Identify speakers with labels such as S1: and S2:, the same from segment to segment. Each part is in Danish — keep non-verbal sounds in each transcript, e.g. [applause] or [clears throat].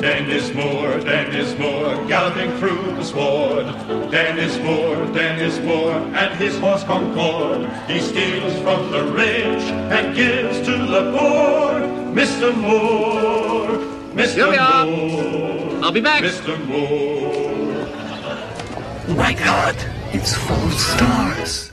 S1: Dennis Moore, Dennis Moore, galloping through the sward. Dennis Moore, Dennis Moore, and his horse Concord. He steals from the rich and gives to the poor. Mr. Moore,
S2: Here
S1: Mr.
S2: we are.
S1: Moore,
S2: I'll be back.
S1: Mr. Moore.
S3: My God, it's full of stars.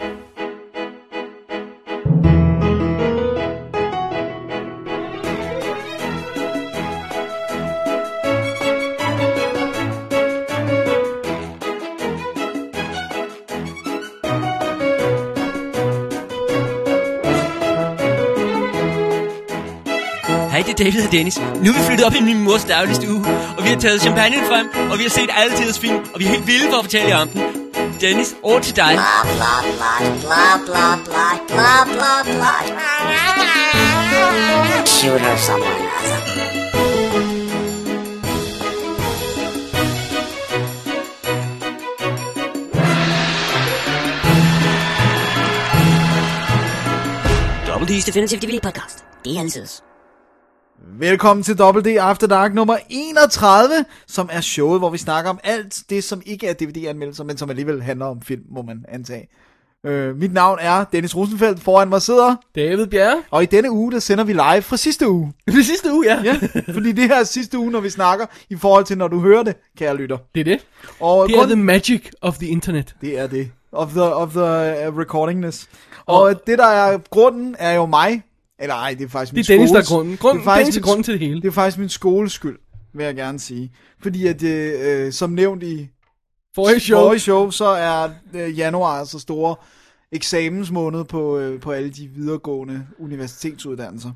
S4: Hej, det er David og Dennis. Nu er vi flyttet op i min mors dagligste uge, og vi har taget champagne frem, og vi har set alle tiders film, og vi er helt vilde for at fortælle jer om den. Dennis, over til dig.
S5: Blah blah blah blah blah blah blah blah blah. Shoot her somewhere.
S4: Double D's
S5: Definitive DVD podcast. Det er altid.
S6: Velkommen til Double D After Dark nummer 31, som er showet, hvor vi snakker om alt det, som ikke er DVD-anmeldelser, men som alligevel handler om film, må man antage. Øh, mit navn er Dennis Rosenfeldt, foran mig sidder,
S7: David
S6: [laughs]
S7: Bjerre.
S6: og i denne uge, der sender vi live fra sidste uge.
S7: Det sidste uge, ja.
S6: Ja, fordi det her er sidste uge, når vi snakker, i forhold til, når du hører det, kære lytter.
S7: Det er det.
S6: Og
S7: Det er the magic of the internet.
S6: Det er det. Of the, of the uh, recordingness. Og, og det, der er grunden, er jo mig. Eller ej, det er faktisk min
S7: Det er Dennis, der er
S6: skoles-
S7: grunden. Grunden- Dennis er grunden til det hele.
S6: Det er faktisk min skoles skyld, vil jeg gerne sige. Fordi at, øh, øh, som nævnt i
S7: Forrige show.
S6: forrige show, så er øh, januar så store eksamensmåned på, øh, på alle de videregående universitetsuddannelser.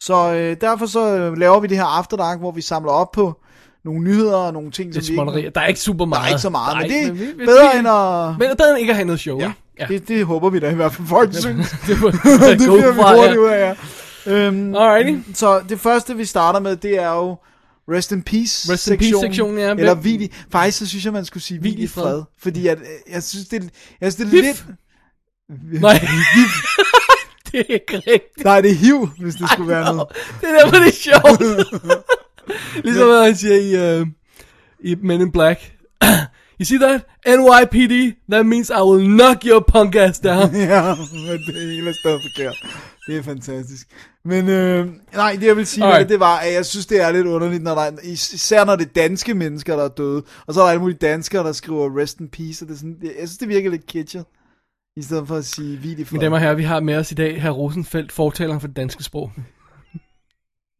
S6: Så øh, derfor så øh, laver vi det her After Dark, hvor vi samler op på nogle nyheder og nogle ting,
S7: Det er
S6: som vi ikke
S7: småtterier. Der er ikke super meget.
S6: der er ikke så meget, men det er
S7: vi- vi-
S6: bedre
S7: vi-
S6: end at-
S7: Men bedre end ikke at have noget show,
S6: Ja,
S7: ikke?
S6: ja. Det, det håber vi da i hvert fald, folk synes.
S7: det
S6: [laughs]
S7: var
S6: det
S7: go
S6: bliver vi
S7: for,
S6: hurtigt
S7: ja.
S6: ud af, ja. Øhm,
S7: Alrighty.
S6: Så det første, vi starter med, det er jo Rest in Peace
S7: Rest in Peace sektionen, ja.
S6: Eller
S7: Hvem-
S6: hvil i, Faktisk, så synes jeg, man skulle sige Hvil i fred. Fordi at, øh, jeg synes, det, er- jeg synes, det er
S7: Hif.
S6: lidt...
S7: Nej. [laughs] det er ikke rigtigt.
S6: Nej, det er hiv, hvis det skulle være noget.
S7: Det er derfor, det er
S6: [laughs]
S7: sjovt. ligesom hvad han siger i, uh, i Men in Black. [clears throat] you see that? NYPD, that means I will knock your punk ass down.
S6: [laughs] Ja, men det hele er stadig forkert. Det er fantastisk. Men øh, nej, det jeg vil sige, med
S7: Alright.
S6: det, det var, at jeg synes, det er lidt underligt, når der er, is- især når det er danske mennesker, der er døde, og så er der alle mulige danskere, der skriver rest in peace, og det er sådan, jeg synes, det virker lidt kitschet, i stedet for at sige hvil i fred.
S7: Mine damer og herrer, vi har med os i dag herr Rosenfeldt, fortaleren for det danske sprog.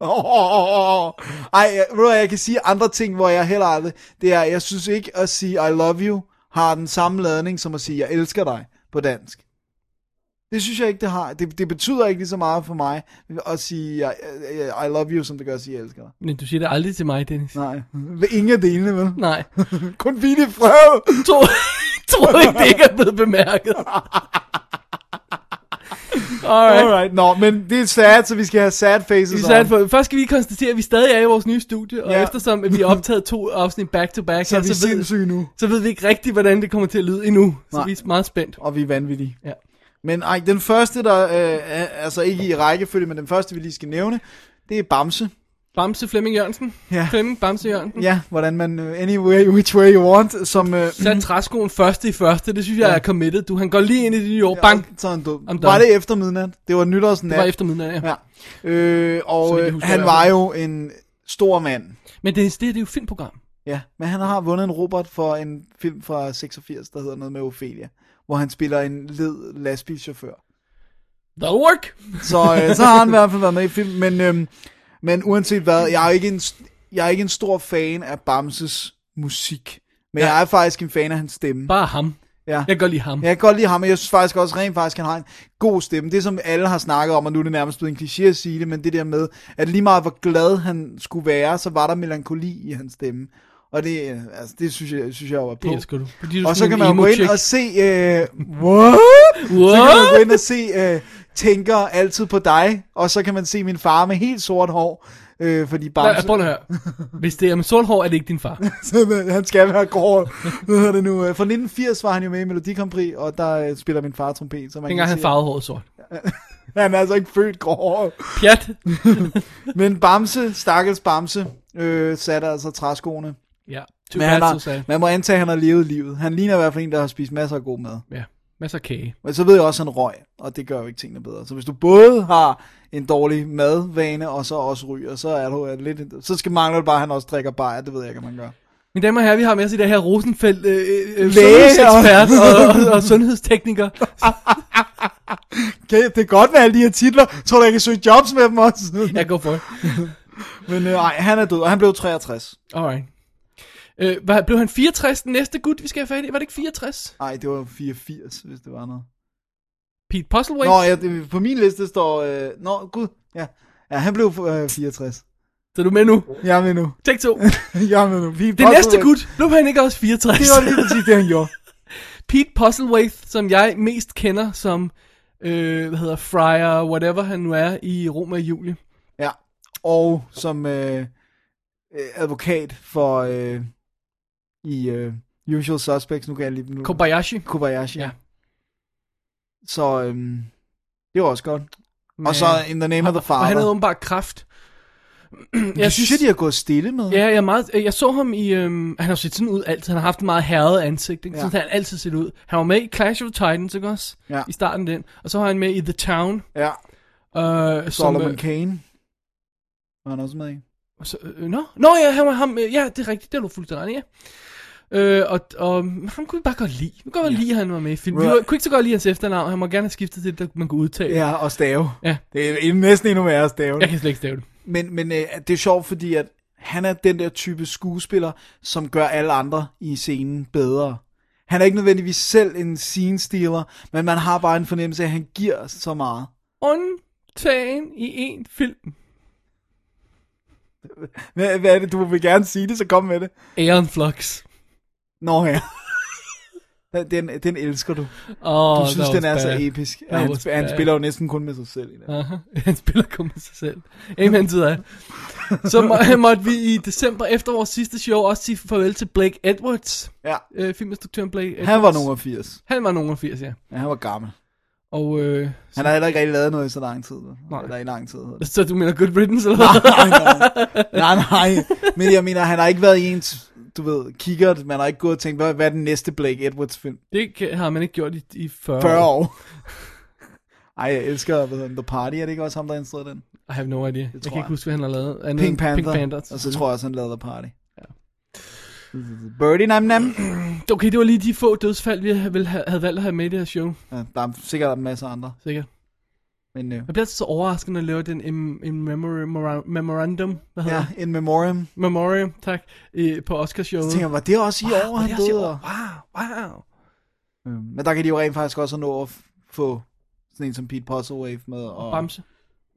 S6: Åh, åh, åh, åh. Ej, jeg, ved du hvad, jeg kan sige andre ting, hvor jeg heller aldrig, det er, jeg synes ikke at sige I love you, har den samme ladning, som at sige, jeg elsker dig, på dansk. Det synes jeg ikke, det har. Det, det betyder ikke lige så meget for mig, at sige jeg, jeg, I love you, som det gør at sige, jeg elsker dig.
S7: Men du siger det aldrig til mig, Dennis.
S6: Nej, ved ingen af delene, vel?
S7: Nej.
S6: Kun hvile i fred!
S7: [laughs] Tror, tror ikke, det ikke er blevet
S6: [laughs]
S7: bemærket. Alright.
S6: Alright, nå, men det er sad, så vi skal have sad faces
S7: Vi er
S6: on.
S7: sat for, først skal vi konstatere, at vi stadig er i vores nye studie, og
S6: Ja.
S7: ja. eftersom at vi har optaget to afsnit back-to-back,
S6: Så er
S7: her,
S6: vi sindssyge nu.
S7: så ved vi ikke rigtigt, hvordan det kommer til at lyde endnu. Så
S6: Nej.
S7: vi er meget spændt.
S6: og vi er vanvittige.
S7: Ja.
S6: Men ej, den første, der øh, er, altså ikke i rækkefølge, men den første, vi lige skal nævne, det er Bamse.
S7: Mm. Bamse Flemming Jørgensen.
S6: Ja.
S7: Flemming Bamse Jørgensen.
S6: Ja, hvordan man, øh, anyway, which way you want, som... Øh,
S7: Så er træskoen første i første. Det synes jeg
S6: Ja.
S7: er committed. Du, han går lige ind i det nye år. Bang!
S6: [laughs] Så er han død.
S7: done.
S6: Var det efter midnat? Det var nytårsnat.
S7: Det var efter midnat, ja.
S6: Ja. Øh,
S7: Så
S6: og
S7: vidt jeg
S6: øh,
S7: husker i
S6: han
S7: hvert fald.
S6: var jo en stor mand.
S7: Men Dennis, det, her, det er jo et filmprogram.
S6: Ja, men han har vundet en Robert for en film fra 86, der hedder noget med Ophelia, hvor han spiller en led lastbilchauffør.
S7: That'll work!
S6: Så, øh, så har han i hvert fald været med i film, men, øhm, men uanset hvad, jeg er, jo ikke en, jeg er ikke en stor fan af Bamses musik, men ja. jeg er faktisk en fan af hans stemme.
S7: Bare ham.
S6: Ja.
S7: Jeg går lige ham.
S6: Jeg kan godt lide ham, og jeg synes faktisk også rent faktisk, han har en god stemme. Det som alle har snakket om, og nu er det nærmest blevet en kliché at sige det, men det der med, at lige meget hvor glad han skulle være, så var der melankoli i hans stemme. Og det, øh, altså, det synes jeg, synes jeg jo var på.
S7: Det elsker du. Fordi du
S6: Og så kan man jo
S7: jo
S6: gå ind og se... Øh, what? Så kan man
S7: What?
S6: gå ind og se, øh, tænker altid på dig, og så kan man se min far med helt sort hår, øh, fordi
S7: Nej,
S6: Bamse,
S7: prøv
S6: [laughs]
S7: at høre. Hvis det er med sort hår, er det ikke din far.
S6: han skal være grå, hvad hedder det nu, øh, fra 1980 var han jo med i Melodi Grand Prix, og der øh, spiller min far trompet, så man
S7: Dengang
S6: kan
S7: han
S6: se,
S7: farvede håret sort.
S6: han er altså ikke født grå.
S7: Pjat.
S6: Men Bamse, stakkels Bamse, øh, satte altså træskoene.
S7: Ja. Too
S6: Men han
S7: bad, so
S6: har,
S7: sad.
S6: man må antage, at han har levet livet. Han ligner i hvert fald en, der har spist masser af god mad.
S7: Ja. Masser af kage.
S6: Men så ved jeg også, at han røg, og det gør jo ikke tingene bedre. Så hvis du både har en dårlig madvane, og så også ryger, så er du øh, lidt... Så skal mangler det bare, at han også drikker bajer, det ved jeg ikke, om man gør.
S7: Mine damer og herrer, vi har med os i det her Rosenfeldt øh, øh,
S6: Læge og-
S7: sundhedsekspert og, og, og, sundhedstekniker. Ah,
S6: Okay, det kan godt være alle de her titler. Tror du, jeg kan søge jobs med dem også?
S7: Jeg går for det.
S6: Men øh, ej, han er død, og han blev 63.
S7: Alright. Øh, hvad, blev han 64 den næste gut, vi skal have fat i? Var det ikke 64?
S6: Nej, det var 84, hvis det var noget.
S7: Pete Puzzleway?
S6: Nå, ja, det, på min liste står... Øh, nå, gud, ja. Ja, han blev øh, 64.
S7: Så er du med nu.
S6: Jeg er med nu. [laughs]
S7: Tek to.
S6: Jeg er med nu. Vi er
S7: Det
S6: bare-
S7: næste gut, blev han ikke også 64?
S6: Det var lige præcis det, han gjorde.
S7: Pete Puzzlewaith, som jeg mest kender som, øh, hvad hedder Friar, whatever han nu er, i Roma i juli.
S6: Ja. Og som øh, øh, advokat for øh, i øh, Usual Suspects, nu kan jeg lige nu.
S7: Kobayashi.
S6: Kobayashi.
S7: Ja.
S6: Ja. Så øhm, det var også godt. Men, og
S7: Men-
S6: så In the Name of the
S7: Øh, Og han havde
S6: Father.
S7: åbenbart kraft.
S6: Jeg synes, de har gået stille med.
S7: Ja, jeg, er meget, øh, jeg så ham i... Øhm, han har set sådan ud altid. Han har haft en meget herret ansigt. Ikke? Ja.
S6: Ja.
S7: Sådan har han altid set ud. Han var med i Clash of Titans, ikke også?
S6: Ja.
S7: I starten af den. Og så var han med i The Town.
S6: ja.
S7: Øh,
S6: Solomon
S7: øh,
S6: Kane. Var han også med i?
S7: Så, øh, nå? nå, ja, han var ham, øh, ja, det er rigtigt, det er du fuldstændig ret i, ja. Øh, og, og ham kunne vi bare godt lide. Vi kunne godt ja. lide, at han var med i filmen. Vi
S6: Right.
S7: kunne ikke så godt lide hans efternavn. Han må gerne have skiftet til det, der man kunne udtale.
S6: Ja, og stave.
S7: Ja.
S6: Det er næsten endnu værre at stave.
S7: Jeg kan slet ikke stave det.
S6: Men, men øh, det er sjovt, fordi at han er den der type skuespiller, som gør alle andre i scenen bedre. Han er ikke nødvendigvis selv en scene stealer, men man har bare en fornemmelse af, at han giver så meget.
S7: Undtagen i en film.
S6: Hvad, hvad er det, du vil gerne sige det, så kom med det.
S7: Aeon Flux.
S6: Nå ja. [laughs] Den, den elsker du. Du
S7: Oh,
S6: oh, synes, den er så episk.
S7: That
S6: Og Han,
S7: was
S6: sp- han
S7: bad.
S6: spiller jo næsten kun med sig selv. I den.
S7: Uh-huh. [laughs] Han spiller kun med sig selv. Amen til
S6: [laughs]
S7: dig. Så må, [laughs] måtte vi i december efter vores sidste show også sige farvel til Blake Edwards.
S6: Ja.
S7: Øh, filminstruktøren Blake Edwards.
S6: Han var nummer 80.
S7: Han var nogen 80, ja.
S6: Ja, han var gammel.
S7: Og øh,
S6: Han har heller ikke rigtig lavet noget i så lang tid.
S7: Nej.
S6: Nej. Eller i lang tid. hedder det.
S7: [laughs] Så du mener Good Riddance, eller hvad?
S6: nej, nej. nej, nej. Men jeg mener, han har ikke været i ens, du ved, kikkert. Man har ikke gået og tænkt, hvad, hvad er den næste Blake Edwards film?
S7: Det kan- har man ikke gjort i, i 40,
S6: 40 år. Ej, jeg elsker, hvad hedder den, The Party. Er det ikke også ham, der instruerede den?
S7: I have no idea. Jeg
S6: tror
S7: kan ikke
S6: jeg.
S7: huske, hvad han har lavet. Andet end
S6: Pink Panther.
S7: Mm, Pink Panther.
S6: Og så tror jeg også, han lavede The Party. Ja. Birdie Nam Nam.
S7: Okay, det var lige de få dødsfald, vi ha- ville ha- havde valgt at have med i det her show,
S6: Ja, der er sikkert en masse andre.
S7: sikkert.
S6: Men øh,
S7: Jeg bliver altid så overrasket, når jeg laver den in, in memory, mora- memorandum, hvad hedder
S6: ja,
S7: ja.
S6: In Memoriam.
S7: Memoriam, tak, øh, på
S6: Så
S7: Oscarshowet.
S6: tænker jeg, var det også i
S7: Wow,
S6: år,
S7: var det
S6: han
S7: også i
S6: døde?
S7: år?
S6: Og-
S7: Wow, wow.
S6: Øhm, Men der kan de jo rent faktisk også nå at f- få sådan en som Pete Puzzlewave med. Og,
S7: Og Bamse.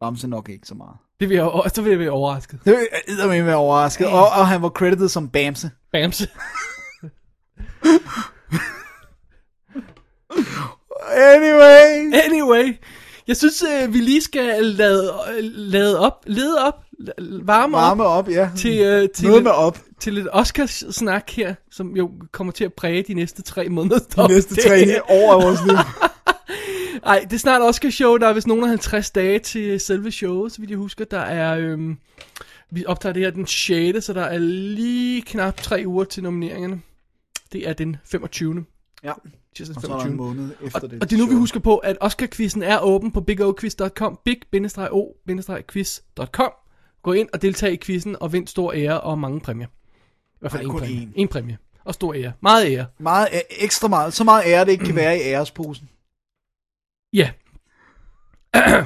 S6: Bamse nok ikke så meget.
S7: Det vil jeg, jo- så vil jeg blive overrasket.
S6: Det er med være overrasket. Og, og han var credited som Bamse.
S7: Bamse. [laughs]
S6: Anyway.
S7: Anyway, jeg synes, øh, vi lige skal lade, lade op, lede op, la- varme, op.
S6: Varme op, ja.
S7: til, øh, til,
S6: Noget med op.
S7: til lidt Oscars-snak her, som jo kommer til at præge de næste tre måneder.
S6: De næste
S7: [laughs]
S6: tre år af vores liv.
S7: Nej, det er snart Oscars-show. Der er vist nogen af 50 dage til selve showet, så vidt jeg husker. Der er, øhm, vi optager det her den 6., så der er lige knap tre uger til nomineringerne. Det er den 25.
S6: [laughs] Ja.
S7: Tirsdag
S6: Og
S7: den
S6: så er der
S7: 25.
S6: en måned efter
S7: Og,
S6: det.
S7: og det er nu, vi
S6: show.
S7: husker på, at Oscar-quizzen er åben på bigoquiz.com, big-o-quiz.com. Gå ind og deltag i quizzen og vind stor ære og mange præmier. I hvert fald
S6: Ej,
S7: en
S6: kun
S7: præmie.
S6: én.
S7: En præmie. Og stor ære. Meget ære.
S6: Meget, øh, ekstra meget. Så meget ære, det ikke kan være i æresposen.
S7: Ja. [clears throat]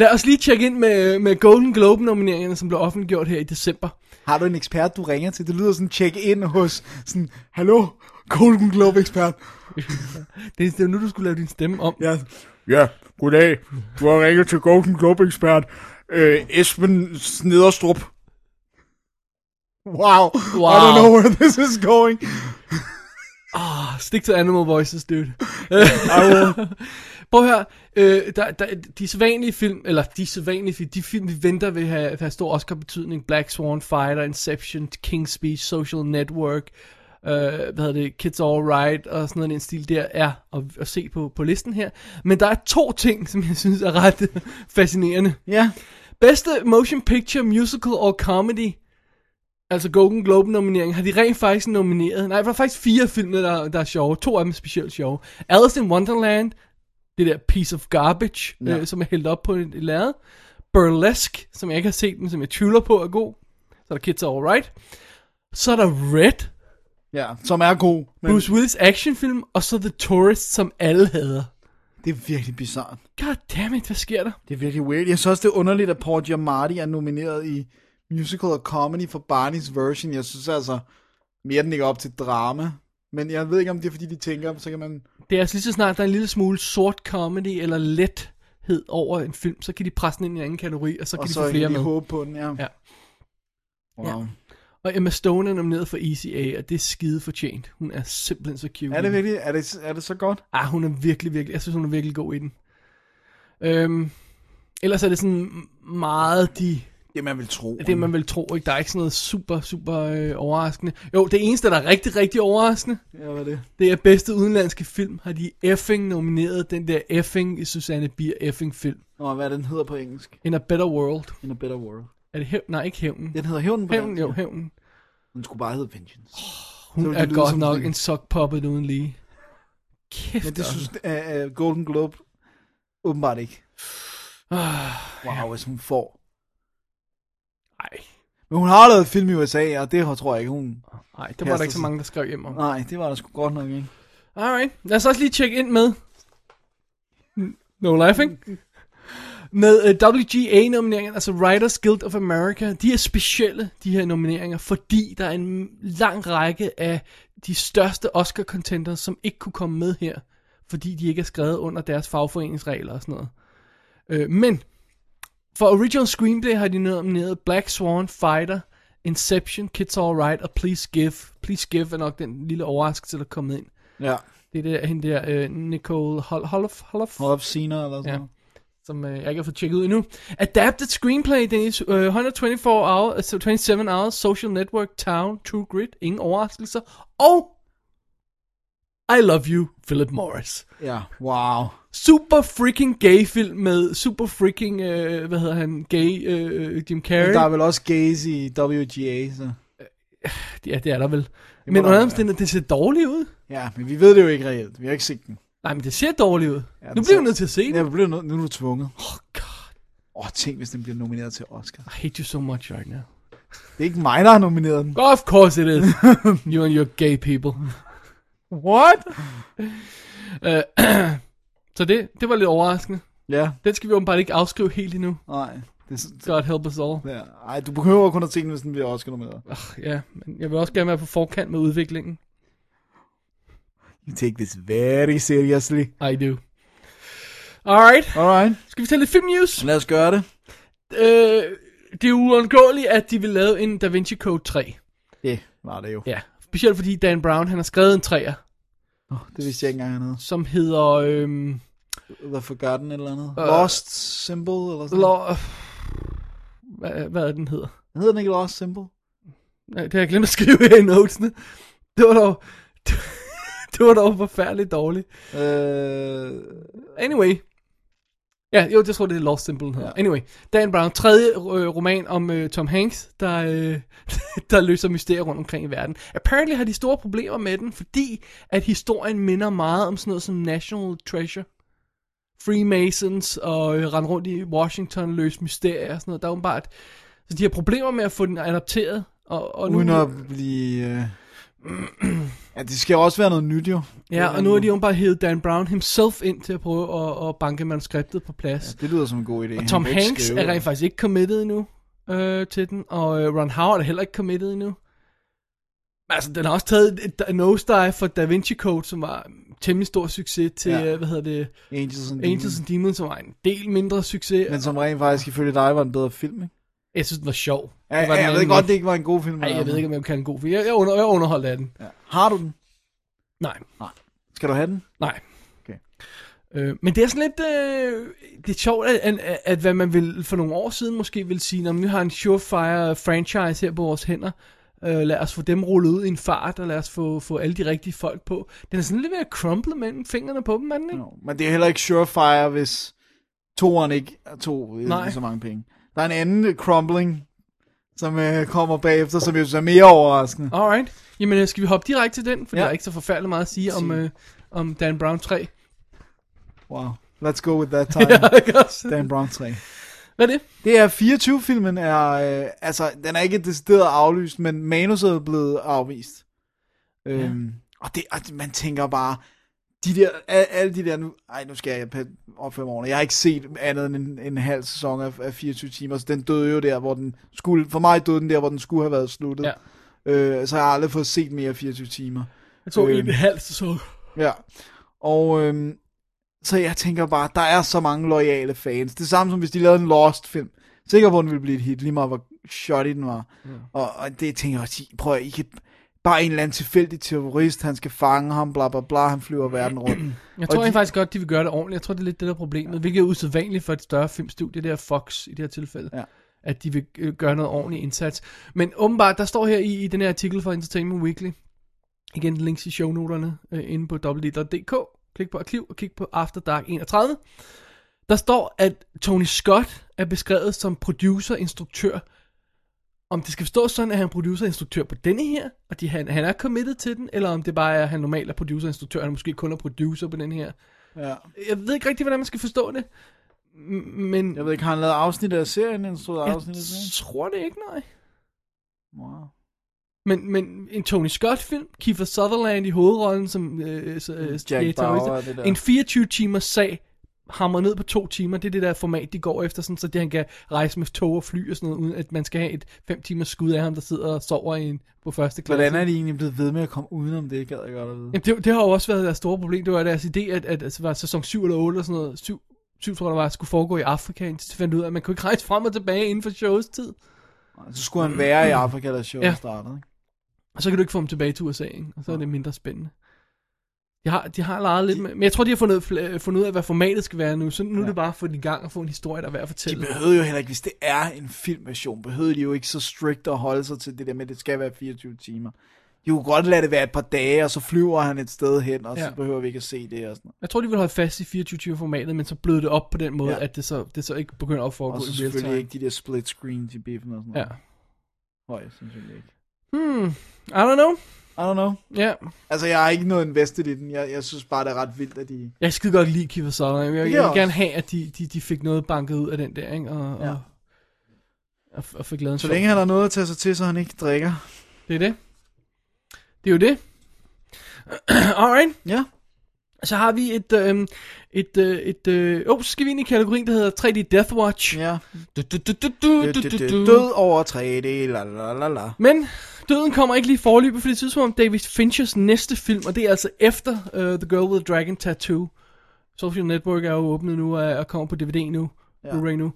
S7: Lad os lige tjekke ind med, med Golden Globe-nomineringerne, som blev offentliggjort her i december.
S6: Har du en ekspert, du ringer til? Det lyder sådan check-in hos sådan, Hallo, Golden Globe-ekspert.
S7: Det er, det er jo nu, du skulle lave din stemme om.
S6: Ja.
S2: Ja, goddag. Du har ringet til Golden Globe-ekspert øh, Esben Snederstrup.
S6: Wow. wow. I don't know where this is going.
S7: Stick to Ah, Animal Voices, dude. [laughs] Prøv at høre, øh, der, der, de sædvanlige film, eller de sædvanlige film, de film, vi venter vil have, have stor Oscar-betydning, Black Swan, Fighter, Inception, King's Speech, Social Network, øh, hvad hedder det, Kids All Right, og sådan noget, den stil der er at, at se på, på listen her. Men der er to ting, som jeg synes er ret [laughs] fascinerende.
S6: Ja.
S7: Bedste motion picture, musical or comedy, altså Golden Globe nominering, har de rent faktisk nomineret, nej, der er faktisk fire film, der, der er sjove, to af dem er specielt sjove. Alice in Wonderland, det der piece of garbage, ja. øh, som er hældt op på et lærred. Burlesque, som jeg ikke har set, men som jeg tvivler på er god. Så er der Kids Are Alright. Så er der Red,
S6: Ja, som er god. Men
S7: Bruce Willis actionfilm, og så The Tourist, som alle hader.
S6: det er virkelig bizart.
S7: God damn it, hvad sker der?
S6: Det er virkelig weird. Jeg synes også, det er underligt, at Paul Giamatti er nomineret i musical og comedy for Barney's version. Jeg synes altså, mere den ikke op til drama. Men jeg ved ikke, om det er, fordi de tænker, så kan man...
S7: Det er altså lige så snart, der er en lille smule sort comedy eller lethed over en film, så kan de presse den ind i en anden kategori, og så kan
S6: og
S7: de
S6: så
S7: få flere
S6: kan de
S7: med.
S6: håbe på den, ja.
S7: Ja.
S6: Wow.
S7: Ja. Og Emma Stone er nomineret for ECA, og det er skide fortjent. Hun er simpelthen så cute.
S6: Er det virkelig? Er det, er det så godt?
S7: Ah, hun er virkelig, virkelig, jeg synes, hun er virkelig god i den. Øhm, ellers er det sådan meget de,
S6: Det man vil tro.
S7: det, man vil tro, ikke? Der er ikke sådan noget super, super øh, overraskende. Jo, det eneste, der er rigtig, rigtig overraskende,
S6: Ja, hvad er det?
S7: det er bedste udenlandske film, har de effing nomineret den der effing Susanne Bier effing film.
S6: Nå, hvad er den hedder på engelsk?
S7: In a Better World.
S6: In a Better World.
S7: Er det hævn? Nej, ikke hævnen.
S6: Den hedder Hævnen på
S7: Hævnen,
S6: dansk.
S7: jo, hævnen.
S6: Den skulle bare hedde Vengeance. Så
S7: Hun
S6: ville
S7: er
S6: det lyde
S7: godt
S6: som
S7: nok
S6: sådan-
S7: en sock puppet uden lige. Kæft,
S6: Men det
S7: altså.
S6: synes uh, uh, Golden Globe åbenbart ikke.
S7: Ah,
S6: Wow, hvis hun får.
S7: Ej,
S6: Men hun har lavet film i USA, og det tror jeg ikke, hun...
S7: ej, der var der
S6: Kaster
S7: ikke så
S6: sig.
S7: mange, der skrev hjem om.
S6: Nej, det var der sgu godt nok ikke.
S7: Alright, lad os også lige tjekke ind med... No laughing. Med uh, WGA-nomineringen, altså Writers Guild of America, de er specielle, de her nomineringer, fordi der er en lang række af de største Oscar-contenders, som ikke kunne komme med her, fordi de ikke er skrevet under deres fagforeningsregler og sådan noget. Øh, men for Original Screenplay har de nomineret Black Swan, Fighter, Inception, Kids All Right og Please Give. Please Give er nok den lille overraskelse, der er kommet ind.
S6: Ja.
S7: Det er det, hende der, øh, Nicole Hol- Holof, Holof,
S6: Hold op senere eller sådan
S7: Ja.
S6: noget.
S7: som øh, jeg ikke har fået tjekket ud endnu. Adapted Screenplay, Dennis, øh, 124 hour, altså 27 Hours, Social Network, Town, True Grit, ingen overraskelser, og I Love You, Philip Morris.
S6: Ja, wow.
S7: Super freaking gay film med super freaking, øh, hvad hedder han, gay øh, Jim Carrey.
S6: Men der er vel også gays i WGA, så...
S7: Ja, det er der vel.
S6: der
S7: Men under
S6: være.
S7: omstændigheden, det ser dårligt ud.
S6: Ja, men vi ved det jo ikke reelt. Vi har ikke set den.
S7: Nej, men det ser dårligt ud. Ja, nu
S6: den
S7: bliver
S6: ser-
S7: vi nødt til at se den.
S6: Ja, vi bliver nødt, nu er du tvunget.
S7: Oh god,
S6: Åh, oh, tænk, hvis den bliver nomineret til Oscar.
S7: I hate you so much right now.
S6: Det er ikke mig, der har nomineret den.
S7: Of course it is. you and your gay people.
S6: What?
S7: Øh, [clears throat] Så det, det var lidt overraskende.
S6: Ja,
S7: Den skal vi åbenbart ikke afskrive helt endnu.
S6: nej. Det er, så-
S7: God help us all.
S6: ja. Ej, du behøver kun at tænke, hvis den bliver Oscar nomineret.
S7: Ja, men jeg vil også gerne være på forkant med udviklingen.
S6: You take this very seriously.
S7: I do. Alright,
S6: Alright.
S7: skal vi tage lidt film news?
S6: Lad os gøre det.
S7: Øh, det er uundgåeligt, at de vil lave en Da Vinci Code 3.
S6: Det var det jo.
S7: Ja, specielt fordi Dan Brown, han har skrevet en træer,
S6: Oh, det vidste jeg ikke engang, han havde.
S7: som hedder... Øhm,
S6: The Forgotten eller andet.
S7: Øh.
S6: Uh, Lost Symbol eller sådan noget.
S7: lo- hvad, hvad er den hedder?
S6: Hedder den ikke Lost Symbol?
S7: Nej, det har jeg glemt at skrive her i notesene. Det var dog... [laughs] det var dog forfærdeligt dårligt.
S6: Øh,
S7: Anyway. Ja, jo, jeg tror, det er Lost Symbol her. Ja. Anyway, Dan Brown, tredje øh, roman om øh, Tom Hanks, der, øh, [laughs] der løser mysterier rundt omkring i verden. Apparently har de store problemer med den, fordi at historien minder meget om sådan noget som National Treasure. Freemasons og øh, rende rundt i Washington, løse mysterier og sådan noget. Der er åbenbart... Så de har problemer med at få den adopteret. Og, og nu,
S6: uden at blive... Øh... [clears throat] ja, det skal også være noget nyt jo.
S7: ja, og nu har de åbenbart hævet Dan Brown himself ind til at prøve at, at banke manuskriptet på plads.
S6: Altså, Det lyder som en god idé.
S7: Og
S6: Han
S7: Tom
S6: kan ikke
S7: Hanks
S6: skrive
S7: er rent
S6: det.
S7: faktisk ikke committed endnu øh, til den, og øh, Ron Howard er heller ikke committed endnu. Altså, den har også taget et, et nosedive for Da Vinci Code, som var en temmelig stor succes, til,
S6: Ja.
S7: ja. hvad hedder det,
S6: Angels and
S7: Angels
S6: Demons.
S7: and Demons, som var en del mindre succes.
S6: Men
S7: Men,
S6: som rent faktisk ifølge dig var en bedre film, ikke?
S7: jeg synes, den var sjov.
S6: Ja,
S7: Det var
S6: ja,
S7: den
S6: jeg ved
S7: anden
S6: godt,
S7: måde.
S6: det ikke var en god film.
S7: Ej, jeg
S6: men-
S7: ved ikke, om jeg kan en god, for jeg, jeg, under, jeg underholdt af den. Ja.
S6: Har du den?
S7: Nej,
S6: Skal du have den?
S7: nej.
S6: Okay.
S7: Øh, men det er sådan lidt, øh, det er sjovt, at, at, at hvad man vil, for nogle år siden måske ville sige, når vi har en surefire franchise her på vores hænder, øh, lad os få dem rullet ud i en fart, og lad os få, få alle de rigtige folk på. Den er sådan lidt ved at crumble mellem fingrene på dem, er den ikke?
S6: No. Men det er heller ikke Surefire, hvis toeren ikke tog øh,
S7: Nej.
S6: så mange penge. Der er en anden øh, crumbling som øh, kommer bagefter, som jo så er mere overraskende.
S7: Alright. Jamen, øh, skal vi hoppe direkte til den? For
S6: Mm.
S7: ja.
S6: Ja.
S7: der er ikke så forfærdeligt meget at sige om, øh, om Dan
S6: [laughs]
S7: Brown 3.
S6: Wow. Let's go with that time. Dan Brown 3.
S7: Hvad er det?
S6: Det er 24-filmen er, øh, altså, den er ikke decideret aflyst, men manuset er blevet afvist. Øhm, og, det, og man tænker bare, de der, al- alle de der nu, ej, nu skal jeg pa- opføre mig ordentligt. Jeg har ikke set andet end en, en halv sæson af, af 24 timer, så den døde jo der, hvor den skulle, for mig døde den der, hvor den skulle have været sluttet.
S7: Ja.
S6: Øh, så jeg har aldrig fået set mere 24 timer.
S7: Jeg tog
S6: Øh.
S7: en halv sæson.
S6: Ja. Og øhm, så jeg tænker bare, der er så mange loyale fans. Det samme som hvis de lavede en Lost-film. Sikker på, at den ville blive et hit, lige meget hvor shot den var. Ja. Og, og det tænker jeg også, I- prøv at, I kan bare en eller anden tilfældig terrorist, han skal fange ham, bla bla bla, han flyver verden rundt.
S7: Jeg
S6: Og
S7: tror
S6: de-
S7: de... faktisk godt, de vil gøre det ordentligt. Jeg tror, det er lidt det der er problemet, hvilket er usædvanligt for et større filmstudie, det er Fox i det her tilfælde.
S6: Ja.
S7: At de vil øh, gøre noget ordentlig indsats. Men åbenbart, der står her i, i den her artikel fra Entertainment Weekly, igen links i shownoterne øh, inde på www.dk, klik på arkiv og kig på After Dark 31. Der står, at Tony Scott er beskrevet som producer, instruktør. Om det skal forstås sådan, at han er producer, instruktør på denne her, og de, han, han er committed til den, eller om det bare er, at han normalt er producer, instruktør, han måske kun er producer på den her.
S6: [clears throat] Ja.
S7: Jeg ved ikke rigtig, hvordan man skal forstå det. M- Men
S6: Jeg ved ikke, har han lavet afsnit af serien, en stor
S7: jeg
S6: afsnit af serien?
S7: tror det ikke, nej.
S6: Wow.
S7: Men, men en Tony Scott-film, Kiefer Sutherland i hovedrollen som øh, så, øh,
S6: Jack
S7: terrorist.
S6: Bauer, det der.
S7: En 24-timers sag hammer ned på to timer. Det er det der format, de går efter, sådan, så det, han kan rejse med tog og fly og sådan noget, uden at man skal have et 5 timers skud af ham, der sidder og sover i en, på første klasse.
S6: Hvordan er de egentlig blevet ved med at komme udenom det, gad jeg godt at vide.
S7: Jamen, det, det har jo også været deres store problem. Det var deres idé, at, at, at var sæson 7 eller 8 eller sådan noget, 7, 7 tror jeg, der var, skulle foregå i Afrika, indtil de fandt ud af, at man kunne ikke rejse frem og tilbage inden for shows tid.
S6: Så Altså, skulle han være i Afrika, da showet
S7: Ja.
S6: ja. startede. Ikke?
S7: Og så kan du ikke få dem tilbage til USA, ikke? og så er det mindre spændende. De har, de har leget lidt med, men jeg tror, de har fundet, ud- øh, fundet ud af, hvad formatet skal være nu, så nu ja. er det bare at få den i gang og få en historie, der er værd at
S6: De
S7: fortælle.
S6: behøvede jo heller ikke, hvis det er en filmversion, behøvede de jo ikke så strikt at holde sig til det der med, at det skal være 24 timer. De kunne godt lade det være et par dage, og så flyver han et sted hen, og ja.
S7: Ja.
S6: så behøver vi ikke at se det og sådan noget.
S7: Jeg tror, de vil holde fast i 24-formatet, men så bløde det op på den måde, ja.
S6: Ja.
S7: at det så, det så ikke begynder at foregå
S6: Og så
S7: i real
S6: selvfølgelig
S7: time.
S6: ikke de der split screens i biffen og sådan
S7: Ja.
S6: noget. Høj, sandsynligt ikke.
S7: Hmm, I don't know.
S6: I don't know.
S7: Ja,
S6: Altså, jeg har ikke noget invested i den. Jeg, jeg synes bare, det er ret vildt, at de...
S7: jeg skide godt lide Kiefer Sutherland. Jeg,
S6: Det kan
S7: jeg, jeg
S6: jeg
S7: vil
S6: også.
S7: gerne have, at de, de, de fik noget banket ud af den der, ikke? Og, ja.
S6: Ja.
S7: og, og, og fik lavet en
S6: Så
S7: sjov-
S6: længe han har noget at tage sig til, så han ikke drikker.
S7: Det er det. Det er jo det. [clears throat] Alright.
S6: Ja.
S7: Så har vi et, øh, et, øh, et, øh, oh, så skal vi ind i kategorien, der hedder 3D Death Watch.
S6: Ja.
S7: Du, du, du, du, du,
S6: Død,
S7: du,
S6: død,
S7: du,
S6: død,
S7: du.
S6: død over 3D, la la la la.
S7: Men døden kommer ikke lige forløbet for det tidspunkt David Finchers næste film, og det er altså efter uh, The Girl with the Dragon Tattoo. Social Network er jo åbnet nu og og kommer på DVD nu, ja. Blu-ray nu.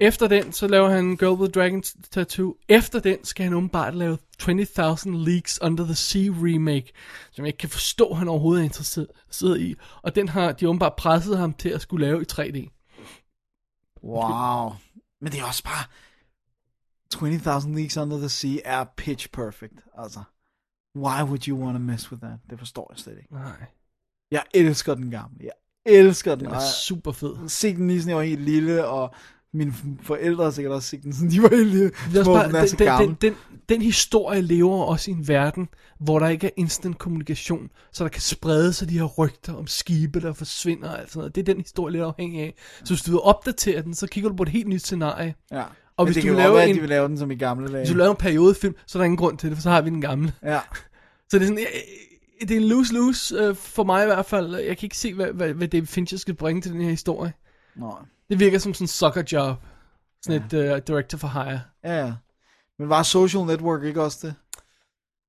S7: Efter den, så laver han Girl with the Dragon Tattoo. Efter den skal han åbenbart lave 20.000 Leagues Under the Sea remake, som jeg ikke kan forstå, han overhovedet er interesseret i. Og den har de åbenbart presset ham til at skulle lave i 3D.
S6: Wow. Men det er også bare... 20.000 Leagues Under the Sea er pitch perfect, altså. Why would you want to mess with that? Det forstår jeg slet ikke.
S7: Nej,
S6: Jeg elsker den gamle. Jeg elsker den.
S7: den
S6: Og
S7: er
S6: jeg
S7: super fed.
S6: har set den lige sådan, jeg var helt lille, og mine f- forældre har sikkert også set den, sådan de var helt lille.
S7: Det er også
S6: Små,
S7: bare,
S6: den er så
S7: den, den,
S6: gammel.
S7: den, den, den historie lever også i en verden, hvor der ikke er instant kommunikation, så der kan sprede sig de her rygter om skibe, der forsvinder og alt sådan noget. Det er den historie, lidt afhængig af. Så hvis du vil opdatere den, så kigger du på et helt nyt scenarie.
S6: Ja.
S7: Og
S6: Og
S7: hvis
S6: hvis det
S7: du
S6: kan jo
S7: laver
S6: godt være, at
S7: en-
S6: de vil lave den som i gamle dage.
S7: Hvis du laver en periodefilm, så er der ingen grund til det, for så har vi den gamle.
S6: Ja.
S7: Så det er sådan, jeg, det er en lose-lose øh, for mig i hvert fald. Jeg kan ikke se, hvad, hvad, hvad David Fincher skal bringe til den her historie.
S6: Nå.
S7: Det virker som sådan en sucker job. Sådan ja. et uh, director for hire.
S6: Ja, ja. Men var Social Network ikke også det?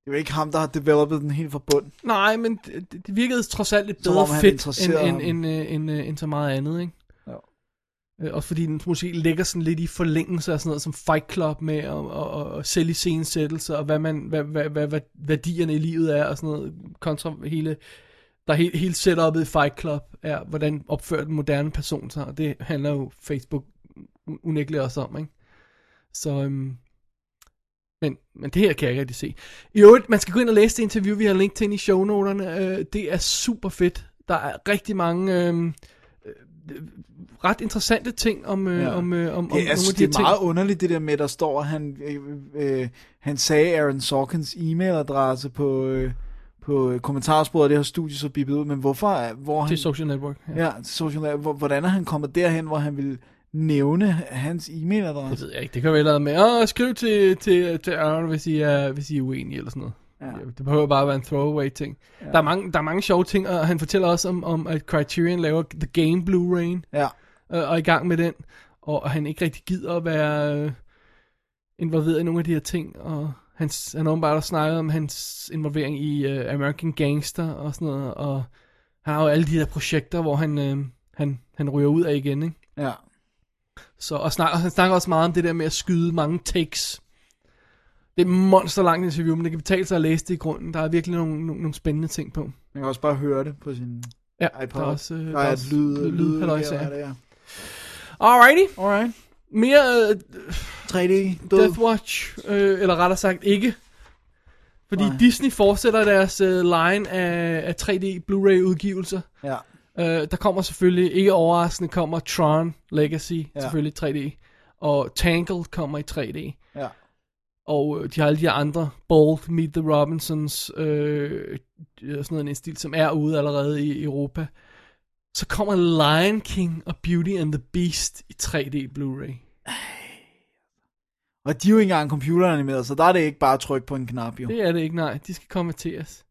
S6: Det er jo ikke ham, der har developet den helt fra bund.
S7: Nej, men det, det- det virkede trods alt lidt
S6: Som
S7: bedre
S6: om han
S7: fedt, end,
S6: interesserede
S7: end,
S6: ham.
S7: end, øh, end, øh, end så meget andet, ikke?
S6: Jo.
S7: Øh, Også fordi den måske ligger sådan lidt i forlængelse af sådan noget som Fight Club med at, at, at, at sælge scenesættelser, og hvad, man, hvad, hvad, hvad, hvad værdierne i livet er, og sådan noget, kontra hele, der er hele, hele setupet i Fight Club, er, hvordan opfører den moderne person sig, og det handler jo Facebook u- unægteligt også om, ikke? Så, øhm, men, men det her kan jeg ikke rigtig se. I øvrigt, man skal gå ind og læse det interview, vi har link til inde i shownoterne. Øh, det er super fedt. Der er rigtig mange øh, øh, øhm, ret interessante ting om, øh,
S6: Ja.
S7: ja. om, øh, om, om
S6: Det, jeg
S7: nogle
S6: synes,
S7: af de her
S6: det er
S7: ting.
S6: meget underligt, det der med, der står, at han, øh, øh, han sagde Aaron Sorkins e-mailadresse på, øh, på øh, kommentarsporet af det her studie, så bippet ud, men hvorfor, er- hvor han,
S7: Til Social Network. Ja.
S6: ja, til social, media, hvor, hvordan er han kommet derhen, hvor han ville nævne hans
S7: Det
S6: e-mailadresse?
S7: ved jeg ikke. Det kan være et eller andet med, åh, skriv til, til, til Aaron, hvis I, er, hvis I er uenige eller sådan noget. Ja. Det behøver bare at være en throwaway ting. Ja. Der, er mange, der er mange sjove ting, og han fortæller også om, om at Criterion laver The Game Blu-ray,
S6: Ja,
S7: øh, og er i gang med den, og han ikke rigtig gider at være øh, involveret i nogle af de her ting, og hans, han har åbenbart også snakket om hans involvering i øh, American Gangster og sådan noget, og han har jo alle de der projekter, hvor han, øh, han, han ryger ud af igen, ikke?
S6: ja.
S7: Så, og, snak, [laughs] og han snakker også meget om det der med at skyde mange takes. Det er et monsterlangt interview, men det kan betale sig at læse det i grunden. Der er virkelig nogle, nogle, nogle spændende ting på.
S6: Man kan også bare høre det på sin
S7: Ja,
S6: iPod.
S7: der er også, øh,
S6: der er et lyd, lyd, lyd
S7: halløj,
S6: ja,
S7: ja.
S6: det, ja.
S7: Alrighty.
S6: Alright.
S7: Mere øh,
S6: 3D, død.
S7: Death Watch, øh, eller rettere sagt ikke. Fordi
S6: Nej.
S7: Nej. Disney fortsætter deres øh, line af, af 3D Blu-ray udgivelser.
S6: Ja.
S7: Øh, der kommer selvfølgelig, ikke overraskende, kommer Tron Legacy, ja. selvfølgelig i 3D. Og Tangled kommer i 3D.
S6: Ja.
S7: Og øh, de har alle de andre, Bold, Meet the Robinsons, øh, øh, sådan noget, en stil, som er ude allerede i Europa. Så kommer Lion King og Beauty and the Beast i 3D Blu-ray.
S6: Og de er jo ikke engang computeranimeret, så der er det ikke bare at trykke på en knap, jo.
S7: Det er det ikke, nej. De skal konverteres.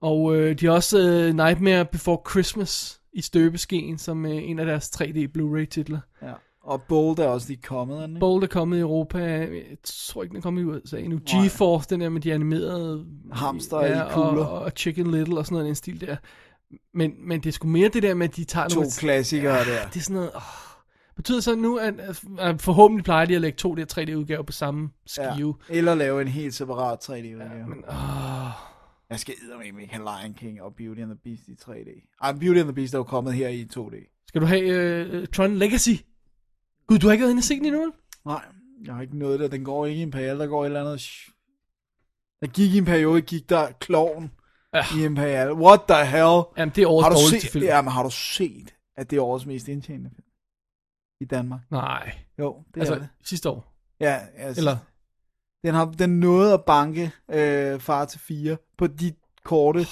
S7: Og øh, de har også øh, Nightmare Before Christmas i støbeskeen, som øh, en af deres 3D Blu-ray titler.
S6: Ja. Og Bold er også lige kommet, er den ikke?
S7: Bold er kommet i Europa, jeg tror ikke, den er kommet i USA endnu. G-Force, den der med de animerede...
S6: Hamster i kugler.
S7: Og, og Chicken Little og sådan noget, den stil der. Men, men det er sgu mere det der med, at de tager
S6: To
S7: nogle...
S6: klassikere der.
S7: Det er sådan noget... Åh. Betyder så nu, at, at forhåbentlig plejer de at lægge to der 3D-udgaver på samme skive.
S6: Ja. Eller lave en helt separat 3D-udgave.
S7: Men, åh.
S6: Jeg skal eddermame ikke have Lion King og Beauty and the Beast i 3D. Ej, Beauty and the Beast er jo kommet her i 2D.
S7: Skal du have øh, Tron Legacy? Gud, du har ikke været inde og se den endnu? vel?
S6: Nej, jeg har ikke noget der. Den går ikke i en periode. Der går et eller andet... sh- Der gik i en periode, gik der kloven
S7: Ja.
S6: i en periode. What the hell?
S7: Jamen, det er årets
S6: Har du,
S7: dårligste
S6: set,
S7: film.
S6: ja, men har du set, at det er årets mest indtjenende film? I Danmark.
S7: Nej,
S6: Jo, det altså,
S7: altså
S6: er det.
S7: sidste år.
S6: Ja, altså,
S7: Eller,
S6: Den, har, den nåede at banke øh, far til fire på de korte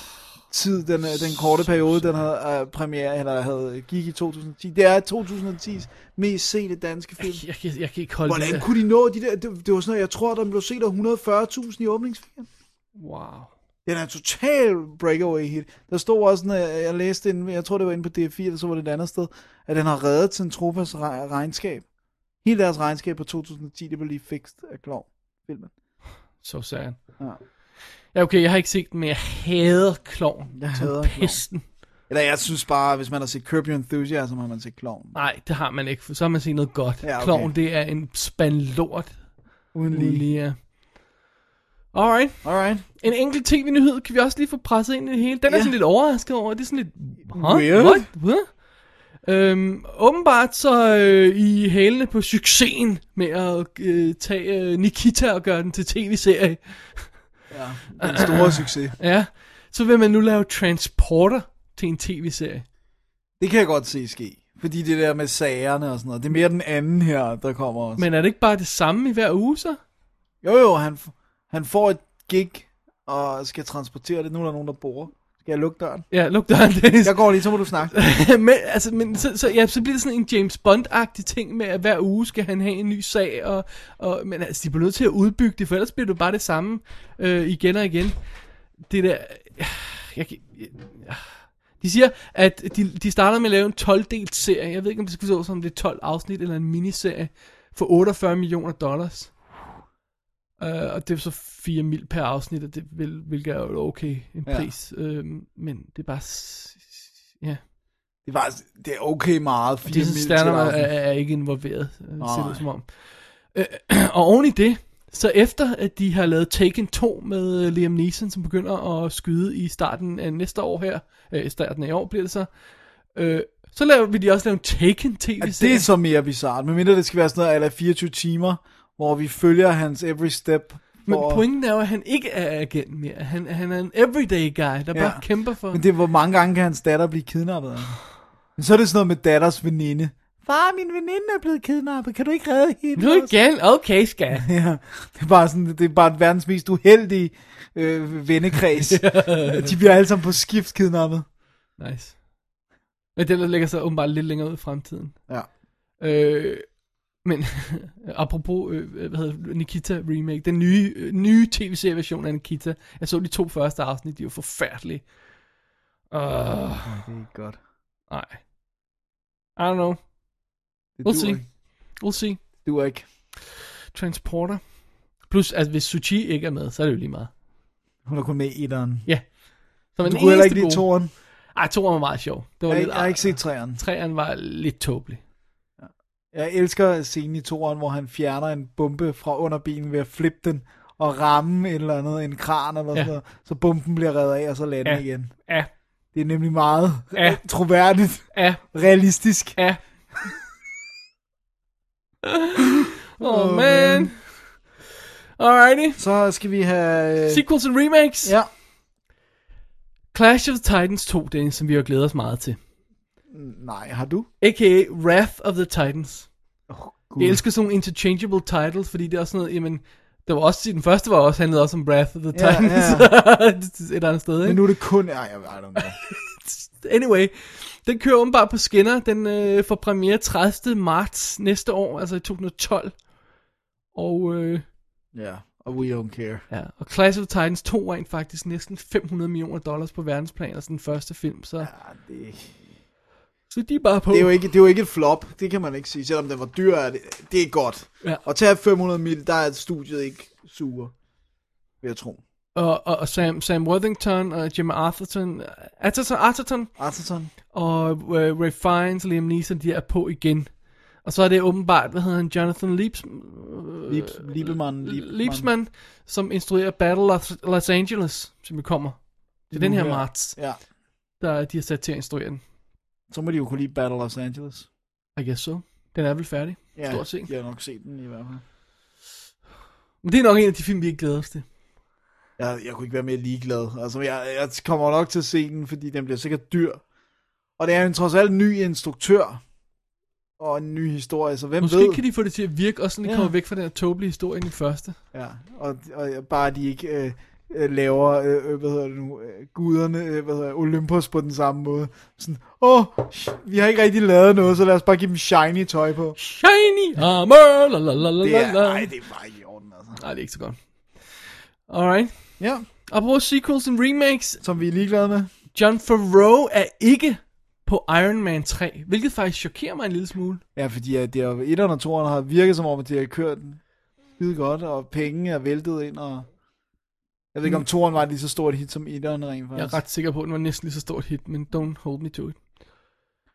S6: tid, den, øh, den korte periode, den havde øh, premiere, eller havde, gik i 2010. Det er 2010's mest sete danske film.
S7: jeg, kan, jeg kan ikke holde det
S6: Hvordan
S7: der.
S6: kunne de nå de der? Det, det var sådan noget, jeg tror, der blev set af 140.000 i åbningsfilmen.
S7: Wow.
S6: Den er en total breakaway hit. Der stod også, sådan, øh, jeg læste den, jeg tror det var inde på DR4, eller så var det et andet sted, at den har reddet Centropas re- regnskab. Hele deres regnskab på 2010, det blev lige fikst af Klov. Filmen.
S7: Så sad
S6: Ja.
S7: Ja, okay, jeg har ikke set den, men jeg hader kloven.
S6: Jeg
S7: som
S6: hader klovn.
S7: pesten.
S6: Eller jeg synes bare, hvis man har set Curb Your Enthusiasm, har man set Klovn.
S7: Nej, det har man ikke, for så har man set noget godt.
S6: Ja, okay.
S7: Kloven, det er en spand lort.
S6: Uden
S7: uden Lige. er. Alright.
S6: Alright.
S7: En enkelt tv-nyhed kan vi også lige få presset ind i det hele. Den er
S6: Ja.
S7: sådan lidt overrasket over. Det er sådan lidt... Huh?
S6: Weird.
S7: What? What? Øhm, åbenbart så øh, i hælene på succesen med at øh, tage øh, Nikita og gøre den til tv-serie,
S6: Den store succes.
S7: ja, så vil man nu lave Transporter til en tv-serie.
S6: Det kan jeg godt se ske. Fordi det der med sagerne og sådan noget, det er mere den anden her, der kommer også. Men...
S7: Men er det ikke bare det samme i hver uge så?
S6: Jo jo, han, f- han får et gig og skal transportere det. Nu er der nogen, der bor. Skal jeg lukke [laughs] døren?
S7: Ja, luk døren, [laughs] Dennis.
S6: Jeg går lige, så må du snakke.
S7: [laughs] men, altså, men så, så, ja, så bliver det sådan en James Bond-agtig ting med, at hver uge skal han have en ny sag, og, og, men altså, de bliver nødt til at udbygge det, for ellers bliver det jo bare det samme øh, igen og igen. Det der... [sighs] Jeg, kan- [sighs] jeg, de siger, at de, de starter med at lave en 12-delt serie. Jeg ved ikke, om det skal så som det er 12 afsnit eller en miniserie for 48 millioner dollars. Uh, og det er så 4 mil per afsnit, og det vil, hvilket er jo okay en
S6: Ja.
S7: pris. Øh, men det er bare... s- s- Ja.
S6: Det er, faktisk, det er okay meget. Fire
S7: Jason
S6: mil
S7: Statham
S6: til
S7: er,
S6: aften.
S7: er, er ikke involveret, øh, ser
S6: Nej.
S7: det som om. Øh, [clears throat] og oven i det, så efter at de har lavet Taken 2 med øh, Liam Neeson, som begynder at skyde i starten af næste år her, øh, i starten af i år bliver det så, øh, så laver, vil de også lave en Taken
S6: Ja, det
S7: tv-serie.
S6: er så mere bizart. Men mindre det skal være sådan noget, eller 24 timer, hvor vi følger hans every step.
S7: Men
S6: for-
S7: pointen er jo, at han ikke er agent mere. Han, han er en everyday guy, der
S6: Ja.
S7: bare kæmper for...
S6: Men det er, hvor mange gange kan hans datter blive kidnappet? af ham? Men så er det sådan noget med datters veninde far, min veninde er blevet kidnappet, kan du ikke redde hende?
S7: Nu igen? Okay, skat.
S6: Ja, det er bare sådan, det er bare verdens mest uheldige øh,
S7: [laughs]
S6: vennekreds. De bliver alle sammen på skift kidnappet.
S7: Nice. Men den der lægger sig åbenbart lidt længere ud i fremtiden.
S6: Ja.
S7: Øh, men [laughs] apropos, øh, hvad hedder det, Nikita remake, den nye, øh, nye tv-serie version af Nikita. Jeg så de to første afsnit, de var forfærdelige. Uh,
S6: Det er ikke godt.
S7: nej. I don't know.
S6: Det
S7: We'll
S6: duer
S7: see.
S6: ikke.
S7: We'll see.
S6: Det duer ikke.
S7: Transporter. Plus, at hvis Suchi ikke er med, så er det jo lige meget.
S6: Hun er kun med i etteren.
S7: Så
S6: Du kunne heller ikke lide toren.
S7: Ej, toeren var meget sjov. Det var
S6: Jeg,
S7: lidt,
S6: jeg har ikke set træerne.
S7: Træeren var lidt tåbelig.
S6: Jeg elsker scenen i toren, hvor han fjerner en bombe fra under bilen ved at flippe den og ramme et eller andet, en kran eller
S7: Ja.
S6: sådan noget, så bomben bliver reddet af, og så lander
S7: Ja.
S6: ja. igen.
S7: Ja,
S6: Det er nemlig meget
S7: Ja.
S6: ja. troværdigt,
S7: ja,
S6: realistisk. [laughs]
S7: ja. oh, man. Alrighty.
S6: Så skal vi have... øh,
S7: Sequels and remakes.
S6: Ja,
S7: Clash of the Titans 2, Dennis, som vi har glædet os meget til.
S6: nej, har du?
S7: A.k.a. Wrath of the Titans.
S6: Oh,
S7: Jeg elsker sådan nogle interchangeable titles, fordi det er også sådan noget, jamen, der var også, den første var også, handlede også om Wrath of the
S6: Ja,
S7: Titans. [laughs] Et eller andet sted, ikke?
S6: Men nu er det kun... Ej, jeg I don't know.
S7: Anyway, den kører åbenbart på skinner. Den øh, får premiere 30. marts næste år, altså i 2012. Og, øh,
S6: Ja, og we don't care.
S7: ja, og Clash of Titans 2 rent faktisk næsten 500 millioner dollars på verdensplan, altså den første film. Så, ja.
S6: Ja, det,
S7: så de er bare på.
S6: det, er jo ikke, det er jo ikke et flop, det kan man ikke sige. Selvom den var dyr, er det, det er godt.
S7: Ja.
S6: Og tage 500 mil, der er studiet ikke sure, vil jeg tro.
S7: og, og, og Sam, Sam Worthington og Jim Arthurton, Atherton, Atherton
S6: Arterton?
S7: og øh, Ray Fiennes og Liam Neeson, de er på igen. Og så er det åbenbart, hvad hedder han, Jonathan Leaps, Øh,
S6: Liebs, Liebemann,
S7: Leapsman, som instruerer Battle of Los Angeles, som jo kommer. Det er den her
S6: her.
S7: marts,
S6: Ja,
S7: der de har sat til at instruere den.
S6: så må de jo kunne lide Battle Los Angeles.
S7: I guess so. Den er vel færdig.
S6: Ja,
S7: Stort set.
S6: Jeg har nok set den i hvert fald.
S7: Men det er nok en af de film, vi ikke glæder os til.
S6: Jeg, jeg kunne ikke være mere ligeglad. Altså, jeg, jeg kommer nok til at se den, fordi den bliver sikkert dyr. Og det er jo en trods alt ny instruktør. Og en ny historie, så hvem
S7: Måske
S6: ved?
S7: kan de få det til at virke, også sådan, de
S6: Ja.
S7: kommer væk fra den her tåbelige historie i den første.
S6: Ja, og, og bare de ikke øh, øh, laver, øh, øh, hvad hedder det nu, øh, guderne, øh, hvad hedder det, Olympus på den samme måde. Sådan, åh, sh- vi har ikke rigtig lavet noget, så lad os bare give dem shiny tøj på.
S7: Shiny armor, la la la la
S6: Det
S7: la
S6: er,
S7: la.
S6: nej, det er bare ikke i orden, altså.
S7: Nej, det er ikke så godt. Alright.
S6: Ja,
S7: Apropos sequels and remakes.
S6: som vi er ligeglade med.
S7: John Favreau er ikke på Iron Man 3, hvilket faktisk chokerer mig en lille smule.
S6: Ja, fordi at det er, etteren og toeren har virket som om, at de har kørt den skide godt, og penge er væltet ind, og jeg ved ikke, om toeren var lige så stort hit som etteren rent
S7: Mm. Jeg
S6: faktisk.
S7: er ret sikker på, at den var næsten lige så stort hit, men don't hold me to it.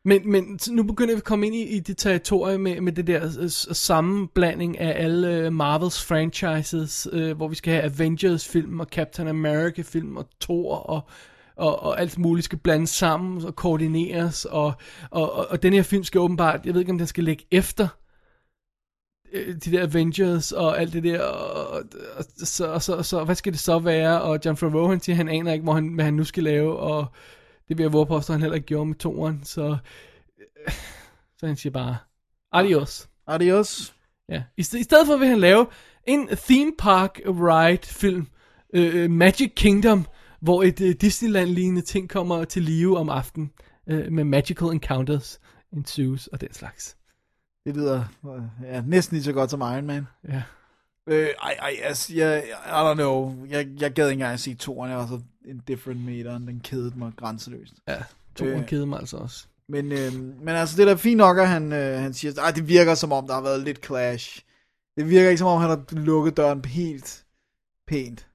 S7: Men, men så nu begynder vi at komme ind i, i det territorie med, med det der øh, s- sammenblanding af alle øh, Marvels franchises, øh, hvor vi skal have Avengers-film og Captain America-film og Thor og, og, og alt muligt skal blandes sammen og koordineres. Og, og, og, og den her film skal åbenbart, jeg ved ikke om den skal ligge efter øh, de der Avengers og alt det der, og, og, og, så, og, så, og så, hvad skal det så være, og John Favreau, han siger, han aner ikke, hvor han, hvad han nu skal lave, og det vil jeg våge påstå, han heller ikke gjorde med toren, så, øh, så han siger bare, adios.
S6: Adios.
S7: Ja. I, sted, I stedet for vil han lave en theme park ride film, øh, Magic Kingdom, hvor et øh, Disneyland-lignende ting kommer til live om aftenen, øh, med magical encounters, ensues og den slags.
S6: Det lyder øh, ja, næsten lige så godt som Iron Man.
S7: Ja.
S6: Øh, ej, ej, altså, jeg, I don't know. Jeg, jeg gad ikke engang at se toeren, jeg var så indifferent med etteren. Den kedede mig grænseløst.
S7: Ja, toren
S6: Øh.
S7: kede mig altså også.
S6: Men, øh, men altså, det er da fint nok, at han, øh, han siger, at det virker som om, der har været lidt clash. Det virker ikke som om, han har lukket døren helt pænt.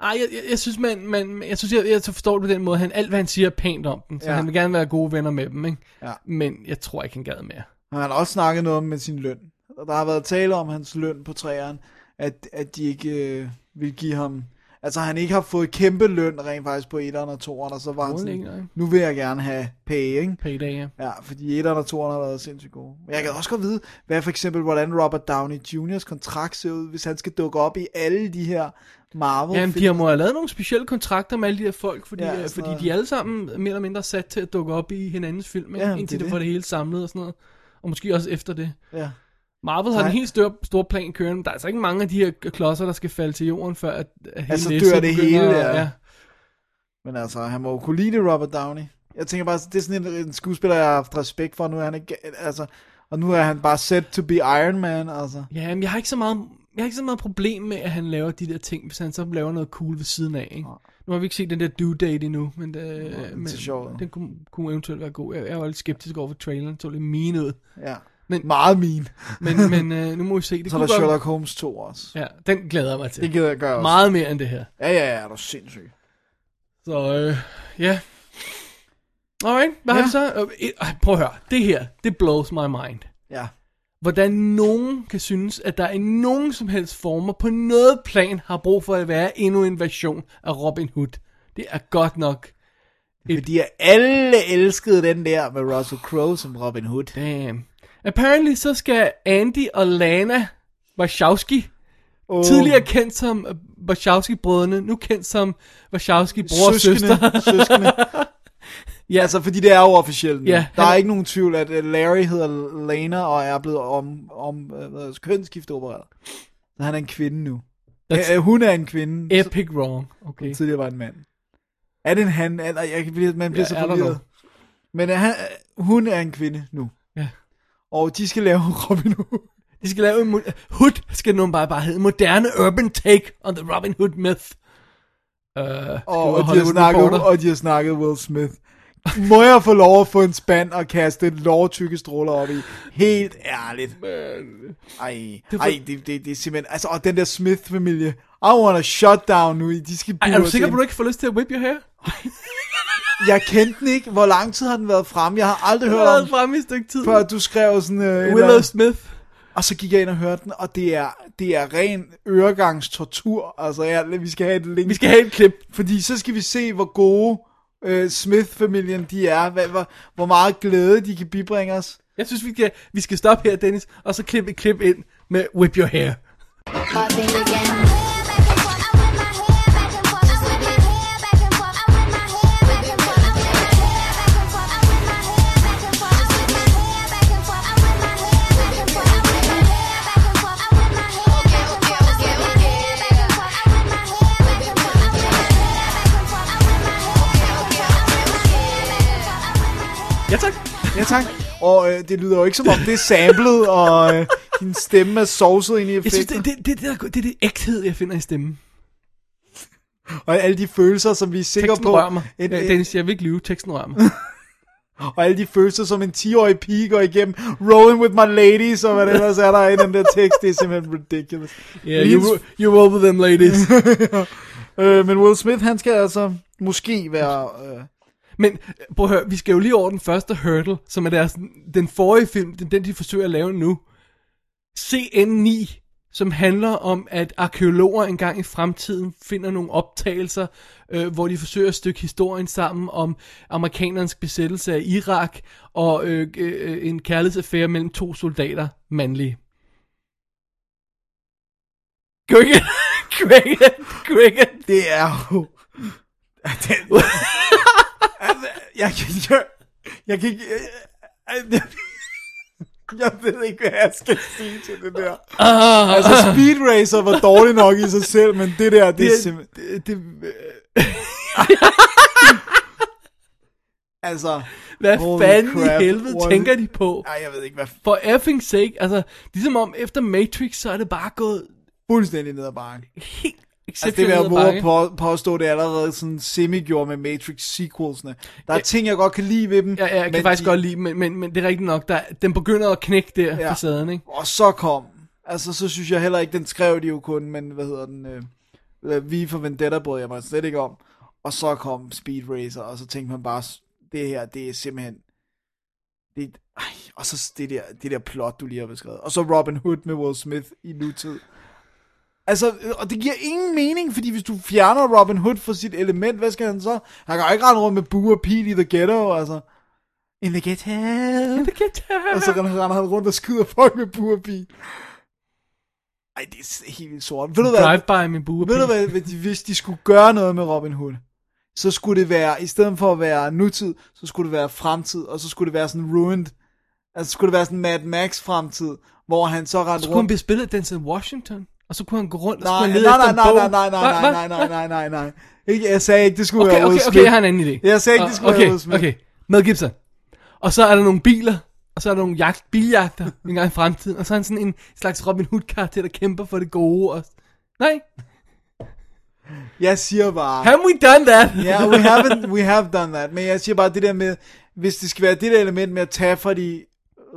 S7: Ej, jeg, jeg, jeg synes, man, man, jeg, synes jeg, jeg forstår det på den måde. Han, alt, hvad han siger, er pænt om den. Så ja.
S6: Ja.
S7: han vil gerne være gode venner med dem, ikke?
S6: Ja.
S7: Men jeg tror ikke, han gad mere.
S6: Og han har også snakket noget om med sin løn. Og der har været tale om hans løn på træerne, at, at de ikke øh, vil give ham... Altså, han ikke har fået kæmpe løn rent faktisk på 1'eren og 2'eren, og så var han sådan,
S7: Grundlæggende, ikke?
S6: nu vil jeg gerne have pay, ikke?
S7: Payday, ja.
S6: Ja, fordi 1'eren og 2'eren har været sindssygt gode. Men jeg kan også godt vide, hvad for eksempel, hvordan Robert Downey Jr.'s kontrakt ser ud, hvis han skal dukke op i alle de her marvel
S7: Jamen, de har må have lavet nogle specielle kontrakter med alle de her folk, fordi,
S6: Ja, altså-
S7: ja,
S6: sådan
S7: fordi
S6: noget.
S7: de er alle sammen mere eller mindre sat til at dukke op i hinandens film, ikke?
S6: Ja,
S7: Ja,
S6: men
S7: indtil
S6: det
S7: det,
S6: er
S7: det får det hele samlet og sådan noget. og måske også efter det.
S6: Ja.
S7: Marvel har
S6: Nej.
S7: en helt stor, stor plan kørende, men der er altså ikke mange af de her klodser, der skal falde til jorden, før at, at hele
S6: Altså,
S7: læsset
S6: dør det
S7: begynder
S6: hele,
S7: at-
S6: ja. Men altså, han må jo kunne lide det, Robert Downey. Jeg tænker bare, det er sådan en, en skuespiller, jeg har haft respekt for. Nu er han ikke, altså, og nu er han bare set to be Iron Man, altså.
S7: Ja, men jeg har ikke så meget, jeg har ikke så meget problem med, at han laver de der ting, hvis han så laver noget cool ved siden af. Ikke? Nu har vi ikke set den der due date endnu, men, det,
S6: er
S7: men
S6: så sjovt.
S7: den kunne, kunne eventuelt være god. Jeg, jeg var lidt skeptisk over for traileren, den så lidt mean ud.
S6: Ja.
S7: Men-
S6: Men, Meget min.
S7: Men, [laughs] men øh, nu må vi se. Det
S6: Så er
S7: kunne
S6: der
S7: godt-
S6: Sherlock Holmes 2 også.
S7: Ja, den glæder jeg mig til.
S6: Det gider jeg gøre også.
S7: Meget mere end det her.
S6: Ja, ja, ja, er du sindssyg.
S7: Så øh, ja. Alright, hvad ja. har
S6: Ja.
S7: vi så? Øh, et- ej, Prøv at høre. Det her, det blows my mind.
S6: Ja.
S7: Hvordan nogen kan synes, at der i nogen som helst former på noget plan har brug for at være endnu en version af Robin Hood. Det er godt nok.
S6: Fordi jeg alle elskede den der med Russell Crowe som Robin Hood.
S7: Damn. Apparently så skal Andy og Lana Wachowski,
S6: Oh,
S7: tidligere kendt som Wachowski-brødrene, nu kendt som Wachowski-bror og søster.
S6: søskende.
S7: [laughs] Ja.
S6: ja, altså, fordi det er jo officielt nu.
S7: Ja,
S6: Der
S7: han-
S6: er ikke nogen tvivl, at øh, Larry hedder Lana og er blevet om, om øh, hvad hedder det, kønsskifteopereret. Så han er en kvinde nu.
S7: That's-
S6: Æ, hun er en kvinde. så-
S7: Epic wrong. Okay.
S6: Tidligere var en mand. Er det en han? Eller, jeg kan blive, man bliver
S7: Ja,
S6: så
S7: I don't
S6: forvirret. Men er han, øh, hun er en kvinde nu.
S7: Ja.
S6: Og de skal lave [laughs] Robin Hood.
S7: De skal lave en... mo- Hood skal nu bare, bare hedde moderne urban take on the Robin Hood myth. Uh,
S6: Og, og, de har snakket, og de har snakket Will Smith. Må jeg få lov at få en spand og kaste et lårtykke stråler op i? Helt ærligt. Ej,
S7: Det
S6: det,
S7: var-
S6: ej det, det, det er simpelthen... Altså, og den der Smith-familie. I want a shutdown nu. De skal
S7: Ej, er
S6: bure
S7: du
S6: os
S7: sikker på,
S6: ind.
S7: at du ikke får lyst til at whip your hair?
S6: Jeg kendte den ikke. Hvor lang tid har den været fremme? Jeg har aldrig
S7: Det
S6: hørt
S7: har
S6: om
S7: været
S6: den,
S7: fremme i et stykke tid.
S6: før du skrev sådan... Øh, en eller
S7: Willow
S6: anden-
S7: Smith.
S6: Og så gik jeg ind og hørte den, og det er, det er ren øregangstortur. Altså, ja, vi skal have et link.
S7: Vi skal have et klip.
S6: Fordi så skal vi se, hvor gode øh, Smith-familien de er. Hvad, hvor, hvor meget glæde de kan bibringe os.
S7: Jeg synes, vi skal, vi skal stoppe her, Dennis, og så klippe et klip ind med whip your hair.
S8: popping again.
S7: Ja, tak.
S6: Ja, tak. Og øh, det lyder jo ikke som om, det er samlet, og øh, din stemme er sovset ind i
S7: Jeg synes,
S6: effekter.
S7: det, det, det, det, er- det er det ægthed, jeg finder i stemmen.
S6: Og alle de følelser, som vi er sikre
S7: Teksten
S6: på.
S7: rører mig.
S6: En,
S7: Ja,
S6: en,
S7: Dennis, jeg vil ikke lyve. Teksten rører [laughs] mig.
S6: og alle de følelser, som en 10-årig pige går igennem. Rolling with my ladies, og hvad det ellers er der i den der tekst. Det er simpelthen ridiculous.
S7: Yeah, you, ro- you roll with them, ladies.
S6: Øh, men Will Smith, han skal altså måske være... Øh,
S7: Men øh, prøv at høre, vi skal jo lige over den første hurdle, som er deres, den forrige film, den, den de forsøger at lave nu. CN9, som handler om, at arkeologer engang i fremtiden finder nogle optagelser, øh, hvor de forsøger at stykke historien sammen om amerikanernes besættelse af Irak og øh, øh, øh, en kærlighedsaffære mellem to soldater, mandlige. Cricket, [laughs] cricket, cricket.
S6: det er jo... Den... Altså, jeg kan ikke... Jeg, jeg kan ikke... Jeg, jeg ved ikke, hvad jeg skal sige til det der.
S7: Ah,
S6: Altså, Speed Racer var dårlig nok i sig selv, men det der, det er simpelthen...
S7: det, det,
S6: Altså...
S7: Hvad Holy
S6: Holy
S7: fanden crap,
S6: crap,
S7: i helvede
S6: hvor er
S7: tænker
S6: det-
S7: de på?
S6: Ej, jeg ved ikke, hvad
S7: For effing sake, altså, ligesom om efter Matrix, så er det bare gået
S6: fuldstændig ned ad bakken.
S7: helt
S6: Altså, det vil
S7: exceptionelt
S6: jeg
S7: altså,
S6: våge at
S7: på.
S6: på, påstå, det er allerede sådan semi-gjorde med Matrix-sequelsene. Der er ting, jeg godt kan lide ved dem.
S7: Ja, ja, jeg kan
S6: men
S7: faktisk
S6: de-
S7: godt lide, men, men, men det er rigtigt nok, der, den begynder at knække der ja.
S6: Ja.
S7: facaden,
S6: [laughs]
S7: ikke?
S6: Og så kom. Altså, så synes jeg heller ikke, den skrev de jo kun, men hvad hedder den? Øh, øh, vi for Vendetta brød jeg mig slet ikke om. Og så kom Speed Racer, og så tænkte man bare, det her, det er simpelthen... Det, ej, og så det der, det der plot, du lige har beskrevet. Og så Robin Hood med Will Smith i nutid. Altså, øh, og det giver ingen mening, fordi hvis du fjerner Robin Hood fra sit element, hvad skal han så? Han kan jo ikke rende rundt med bue og pil i The Ghetto, altså. In the ghetto.
S7: Det kan tage.
S6: Og så render render han rundt og skyder folk med burpi. Ej, det er s- helt vildt sort. Ved du hvad,
S7: Drive-by med buer.
S6: ved du hvad hvis, de, hvis de skulle gøre noget med Robin Hood, så skulle det være, i stedet for at være nutid, så skulle det være fremtid, og så skulle det være sådan ruined Altså skulle det være sådan Mad Max fremtid, hvor han så rendte
S7: Så kunne han
S6: rundt...
S7: blive spillet af Denzel Washington, og så kunne han gå rundt, og så
S6: Nej,
S7: kunne han
S6: nej,
S7: lede efter
S6: nej,
S7: en
S6: nej,
S7: bog.
S6: nej, nej, nej,
S7: Hva?
S6: nej,
S7: Hva?
S6: nej, nej, nej, nej. Ikke, jeg sagde ikke, det skulle
S7: Okay,
S6: være Will
S7: okay, okay,
S6: Smith.
S7: jeg har en anden idé.
S6: Jeg sagde ikke,
S7: Og-
S6: det skulle være
S7: Ah, okay,
S6: Will Smith.
S7: Okay, Mel Gibson. Og så er der nogle biler, og så er der nogle jagt, biljagter [laughs] en gang i fremtiden, og så er han sådan en slags Robin Hood-karakter, der kæmper for det gode. Og... Nej,
S6: Jeg siger bare...
S7: have we done that?
S6: Ja, yeah, we, haven't, we have done that. Men jeg siger bare det der med, hvis det skal være det der element med at tage fra de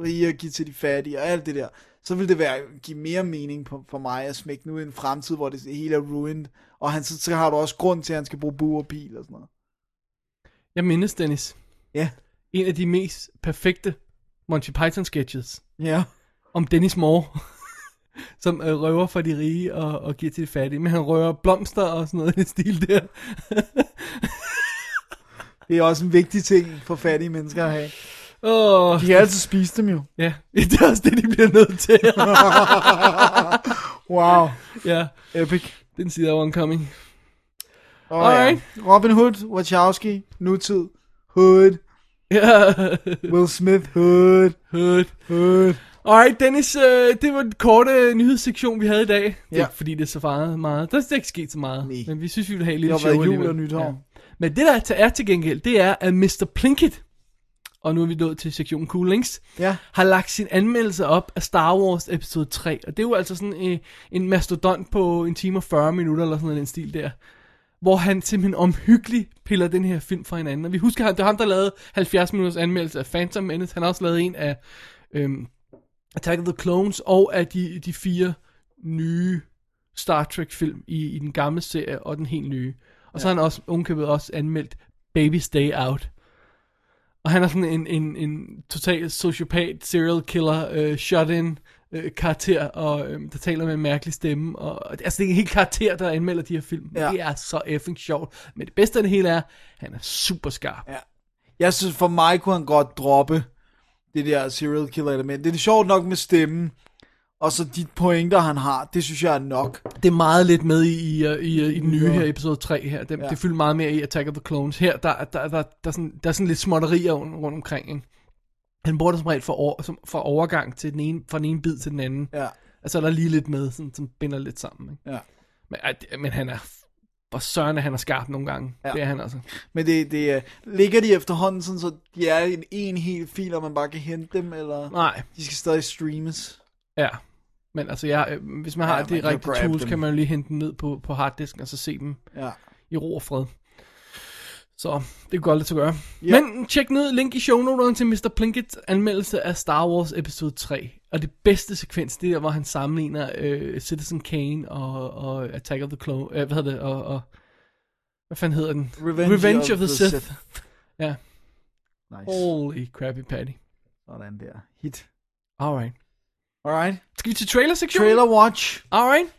S6: rige og give til de fattige og alt det der, så vil det være, give mere mening på, for mig at smække nu i en fremtid, hvor det hele er ruined, og han, så, så har du også grund til, at han skal bruge bur og pil og sådan noget.
S7: Jeg mindes, Dennis,
S6: Ja,
S7: en af de mest perfekte Monty Python-sketches
S6: ja.
S7: om Dennis Moore, [laughs] som øh, røver for de rige og, og giver til de fattige. Men han røver blomster og sådan noget i den stil der. [laughs]
S6: Det er også en vigtig ting for fattige mennesker at have.
S7: Åh,
S6: De kan altid spise dem jo.
S7: ja, [laughs] det er også det, de bliver nødt
S6: [laughs]
S7: til.
S6: Wow,
S7: ja,
S6: epic.
S7: den side er oncoming. [laughs]
S6: Oh,
S7: Alright.
S6: Ja. Robin Hood, Wachowski, nutid, Hood,
S7: Ja,
S6: Will Smith, Hood,
S7: Hood.
S6: Hood.
S7: Alright, Dennis, øh, det var den korte øh, nyhedssektion, vi havde i dag. Det
S6: Ja.
S7: er ikke, fordi det er så meget. meget. Der er ikke sket så meget.
S6: Nej.
S7: Men vi synes, vi vil have
S6: Det
S7: et lille
S6: har
S7: show
S6: været jul
S7: alligevel.
S6: og nytår.
S7: Ja. Men det, der er til gengæld, det er, at Mr. Plinkett, og nu er vi nået til sektionen Cool Links,
S6: Ja.
S7: har lagt sin anmeldelse op af Star Wars episode 3. Og det er jo altså sådan øh, en mastodont på en time og 40 minutter, eller sådan noget i den stil der. Hvor han simpelthen omhyggeligt piller den her film fra hinanden. Og vi husker, det er ham, der lavede 70 minutters anmeldelse af Phantom Menace. Han har også lavet en af øhm, Attack of the Clones, og af de, de fire nye Star Trek film i, i den gamle serie og den helt nye. Og så har han også ovenkøbet også anmeldt Baby's Day Out. Og han er sådan en, en, en total sociopat, serial killer, øh, shut-in øh, karakter, og øh, der taler med en mærkelig stemme. Og, altså det er en helt karakter, der anmelder de her film.
S6: Ja.
S7: Ja. Det er så effing sjovt. Men det bedste af det hele er, han er super skarp. Ja.
S6: Jeg synes, for mig kunne han godt droppe det der serial killer element. Det er sjovt nok med stemmen, og så de pointer, han har, det synes jeg er nok.
S7: Det er meget lidt med i, i, øh, i, øh, i den nye
S6: Ja.
S7: her episode 3 her. Det,
S6: Ja.
S7: ja. det fylder meget mere i Attack of the Clones. Her, der, der, der, der, der, er, sådan, der er sådan lidt småtterier rundt rundt omkring. Ikke? Han bruger det som regel fra, over, som, fra overgang til den ene, fra den ene bid til den anden.
S6: Ja.
S7: Altså, der er lige lidt med, sådan, som binder lidt sammen. Ikke?
S6: Ja.
S7: Men, ej, det- men han er... Hvor søren er han er skarp nogle gange.
S6: Ja.
S7: Ja. Det er han altså.
S6: Men det, det er- ligger de efterhånden sådan, så de er en, en hel fil, og man bare kan hente dem, eller
S7: Nej,
S6: de skal stadig streames.
S7: ja. Men altså, jeg, øh, hvis man har
S6: Ja,
S7: ja,
S6: man
S7: de
S6: kan
S7: rigtige
S6: grab
S7: tools,
S6: dem.
S7: kan man jo lige hente dem ned på, på harddisken, og så se dem
S6: Ja.
S7: i ro og fred. Så det kunne godt lade sig gøre.
S6: Ja.
S7: Yeah. Men tjek ned link i shownoterne til Mr. Plinkets anmeldelse af Star Wars episode 3. Og det bedste sekvens, det er der, hvor han sammenligner øh, Citizen Kane og, og Attack of the Clone... Øh, hvad hedder det? Og, og, hvad fanden hedder den?
S6: Revenge
S7: Revenge of the Sith. Ja. Oh.
S6: Nice.
S7: Holy crappy patty.
S6: Sådan der. Hit.
S7: Alright.
S6: Alright.
S7: Skal vi til trailer-sektionen?
S6: Trailer watch.
S7: Alright.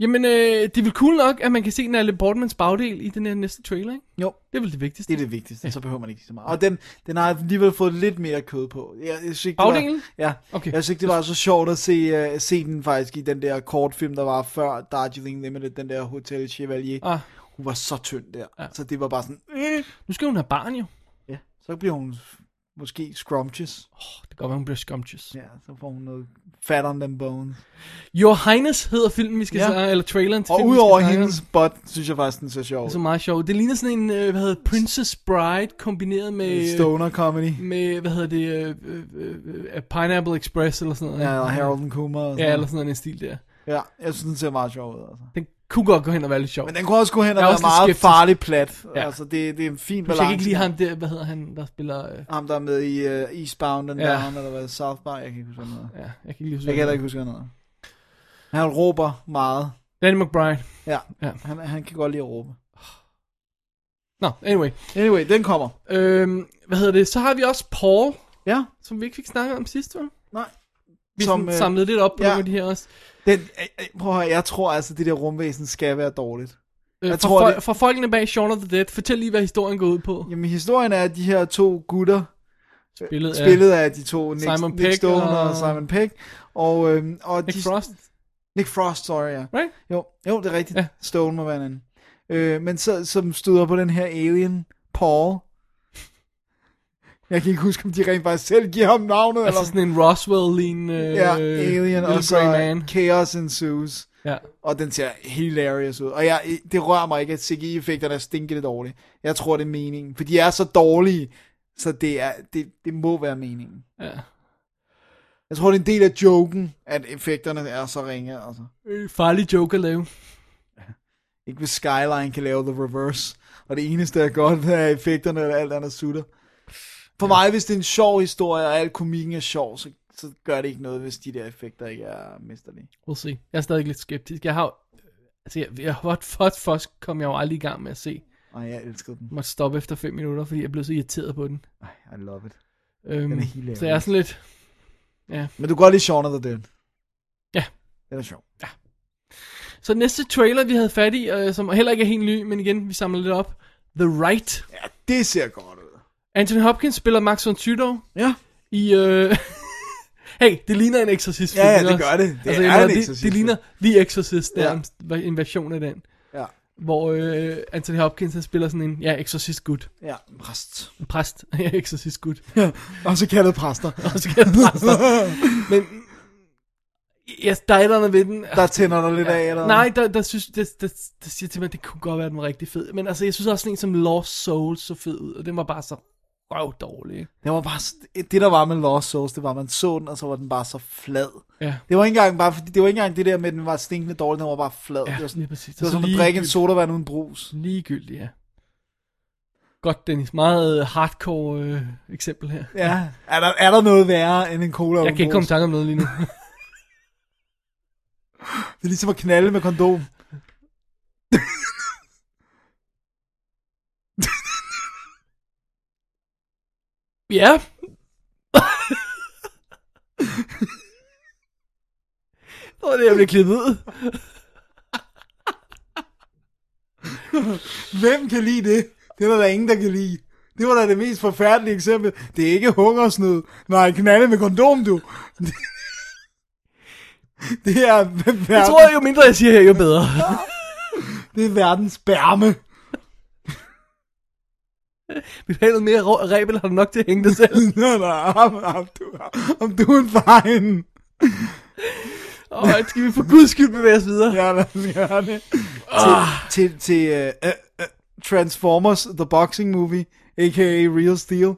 S7: Jamen, øh, det er vel cool nok, at man kan se Natalie Portmans bagdel i den her næste trailer, ikke?
S6: Jo.
S7: Det er vel det vigtigste.
S6: Det er det vigtigste, så behøver man ikke så meget. Og den, den har alligevel fået lidt mere kød på. Jeg, jeg synes ikke, det var-
S7: Bagdelen?
S6: Ja, okay.
S7: Okay.
S6: jeg synes ikke, det var så sjovt at se, uh, se den faktisk i den der kortfilm, der var før Darjeeling Limited, den der Hotel Chevalier.
S7: Ah,
S6: Hun var så tynd der, ja.
S7: Ja.
S6: så det var bare sådan, øh.
S7: nu skal hun have barn, jo.
S6: ja, så bliver hun måske scrumptious.
S7: Det kan godt være, hun bliver scrumptious.
S6: Ja, så får hun noget fat on them bones.
S7: Your Highness hedder filmen, vi skal
S6: Ja.
S7: ja. snakke, eller traileren til
S6: Og
S7: filmen, vi
S6: udover
S7: skal snakke om.
S6: hendes butt, synes jeg faktisk, den ser sjov
S7: Det er
S6: ud.
S7: så meget sjovt. Det ligner sådan en, øh, hvad hedder det, Princess Bride, kombineret med,
S6: Stoner comedy.
S7: med hvad hedder det, øh, øh, øh, øh, Pineapple Express, eller sådan noget.
S6: Ja, og
S7: ikke?
S6: Harold and Kumar. Og
S7: Mm. Ja,
S6: sådan
S7: eller
S6: noget.
S7: sådan noget, i den stil der.
S6: ja, jeg synes, den ser meget sjov ud. Altså.
S7: Den kunne godt gå hen og være lidt sjov.
S6: Men den kunne også gå hen og
S7: Jeg er
S6: være
S7: også lidt
S6: meget
S7: skeptisk.
S6: farlig plat. Ja.
S7: Ja.
S6: Altså, det, det er en fin
S7: Jeg
S6: balance.
S7: kan ikke lige ham der, hvad hedder han, der spiller, øh,
S6: Ham, der er med i uh, Eastbound and
S7: Ja.
S6: Down, eller hvad, Southbound, jeg kan ikke huske hvad den hedder.
S7: ja, jeg kan ikke lige huske,
S6: Jeg kan heller
S7: hvad
S6: ikke huske noget. Han råber meget.
S7: han- Danny McBride.
S6: Ja, ja.
S7: Ja.
S6: Han, han kan godt lide at råbe.
S7: Nå, anyway.
S6: Anyway, den kommer.
S7: Øhm, hvad hedder det, så har vi også Paul,
S6: Ja,
S7: som vi ikke fik snakket om sidst, vel?
S6: nej.
S7: Vi
S6: Som,
S7: som,
S6: øh,
S7: samlede lidt op på
S6: ja.
S7: ja. nogle af de her også.
S6: Den, øh, øh, prøv at høre, jeg tror altså, det der rumvæsen skal være dårligt.
S7: Øh,
S6: Jeg
S7: fra,
S6: tror,
S7: tror,
S6: det-
S7: fra folkene bag Shaun of the Dead, fortæl lige, hvad historien går ud på.
S6: Jamen, historien er, at de her to gutter,
S7: Spillet af
S6: spillet af de to, Nick,
S7: Simon
S6: Nick
S7: Pegg
S6: Stone og...
S7: og-
S6: Simon Peck, og, øhm, og
S7: Nick
S6: de, [laughs]
S7: Frost.
S6: Nick Frost, sorry, ja.
S7: Right?
S6: Jo, jo, det er rigtigt. Ja.
S7: Ja.
S6: Stone må være en anden. Øh, men så, som støder på den her alien, Paul. Jeg kan ikke huske, om de rent faktisk selv giver ham navnet.
S7: Altså
S6: eller...
S7: sådan en Roswell-lignende...
S6: Ja,
S7: øh,
S6: Alien,
S7: Little
S6: og så
S7: Grey Man.
S6: Chaos Ensues.
S7: Ja.
S6: Og den ser hilarious ud. Og jeg, det rører mig ikke, at CGI-effekterne er stinkende dårlige. Jeg tror, det er meningen. For de er så dårlige, så det, er, det, det må være meningen.
S7: ja.
S6: Jeg tror, det er en del af joken, at effekterne er så ringe. Altså.
S7: Øh, Farlig joke at lave.
S6: Ikke hvis Skyline kan lave The Reverse. Og det eneste, der er godt, er effekterne og alt andet sutter. For mig, hvis det er en sjov historie, og al komikken er sjov, så, så gør det ikke noget, hvis de der effekter ikke er mesterlige.
S7: We'll see. Jeg er stadig lidt skeptisk. Jeg har... jo- Altså, jeg, jeg, what, what fuss kom jeg jo aldrig i gang med at se.
S6: Og jeg elskede den.
S7: Jeg måtte stoppe efter 5 minutter, fordi jeg blev så irriteret på den.
S6: Ej, I love it.
S7: Øhm,
S6: er hilarious.
S7: så jeg er sådan lidt...
S6: Men du kan godt lide Shaun of the Dead.
S7: Ja.
S6: Den er sjov.
S7: Så næste trailer, vi havde fat i, øh, som heller ikke er helt ny, men igen, vi samler lidt op. The Right.
S6: Ja, det ser godt ud.
S7: Anthony Hopkins spiller Max von Sydow
S6: Ja.
S7: i... Øh... [laughs] hey, det ligner en Exorcist.
S6: Ja, ja, det gør det. Det er
S7: Altså, jeg mener,
S6: en
S7: det,
S6: Exorcist.
S7: det ligner The Exorcist, der
S6: Ja.
S7: er en- en version af den.
S6: Ja.
S7: Hvor øh, Anthony Hopkins han spiller sådan en, ja, Exorcist gut.
S6: Ja, præst.
S7: En præst. [laughs] ja, Exorcist gut.
S6: Og så kaldet præster.
S7: Og så kan jeg
S6: [laughs]
S7: præster. Men... Jeg stejler noget ved den.
S6: Der tænder der lidt af, eller
S7: Nej, der, der synes, der, der, der siger til mig, at det kunne godt være, at den var rigtig fed. Men altså, jeg synes også sådan en som Lost Souls så fed ud, og den var bare så røv dårlig. ikke?
S6: Det var bare, s- det der var med Lost Souls, det var, at man så den, og så var den bare så flad.
S7: Ja.
S6: Det var ikke engang, bare, fordi- det var ikke engang det der med, at den var stinkende dårlig, den var bare flad.
S7: Ja,
S6: det var sådan,
S7: lige præcis.
S6: det var
S7: Så
S6: som at
S7: lige-
S6: drikke en sodavand uden brus.
S7: Ligegyldig, ja. Godt, Dennis. Meget øh, hardcore øh, eksempel her.
S6: Ja, er der, er der noget værre end en cola
S7: Jeg
S6: uden
S7: kan ikke komme
S6: brus?
S7: i tanke om noget lige
S6: [laughs]
S7: nu.
S6: Det er ligesom at knalde med kondom.
S7: ja. Nå, det er jeg blev klippet ud.
S6: Hvem kan lide det? Det er der da ingen, der kan lide. Det var da det mest forfærdelige eksempel. Det er ikke hungersnød. Nej, knalde med kondom, du. [laughs] Det er, verden,
S7: Jeg tror, jo mindre jeg siger her, jo bedre.
S6: det er verdens bærme. [laughs]
S7: Vi har noget mere rå- rebel, har du nok til at hænge dig selv.
S6: Nå, nå, om, om, du, om du er en fejl.
S7: Og skal vi for guds skyld bevæge os videre?
S6: Ja, lad os gøre det. Til,
S7: Ah.
S6: til, til øh, øh, øh, Transformers The Boxing Movie, a.k.a. Real Steel.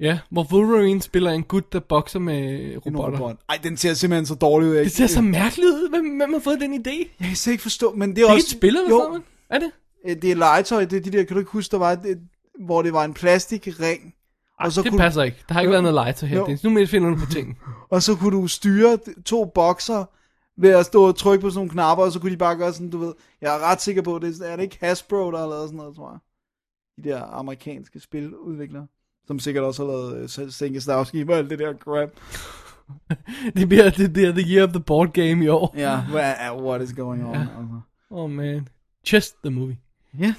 S7: Ja, hvor Wolverine spiller en gut, der bokser med
S6: En
S7: robotter.
S6: robot. Ej, den ser simpelthen så dårlig ud. Jeg,
S7: Det ser så mærkeligt ud. Hvem, hvem har fået den idé?
S6: jeg kan slet ikke forstå, men det er
S7: Det er
S6: også...
S7: et spil, eller
S6: jo,
S7: sådan noget? Er det?
S6: øh, det er legetøj, det er de der, kan du ikke huske, der var, det, hvor det var en plastikring, og så,
S7: det
S6: kunne,
S7: passer ikke. Der har ikke været noget legetøj her.
S6: Jo.
S7: Dennis. Nu med finder du på ting. [laughs]
S6: og så kunne du styre d- to bokser ved at stå og trykke på sådan nogle knapper, og så kunne de bare gøre sådan, du ved, jeg er ret sikker på, det er, er det ikke Hasbro, der har lavet sådan noget, tror jeg. De der amerikanske spiludviklere, som sikkert også har lavet øh, Sen- Senka Stavski og alt det der crap.
S7: det, bliver, det bliver the year of the board game i år.
S6: Ja, yeah. what is going on?
S7: Ja.
S6: Altså.
S7: Oh man. Chest the movie.
S6: Ja.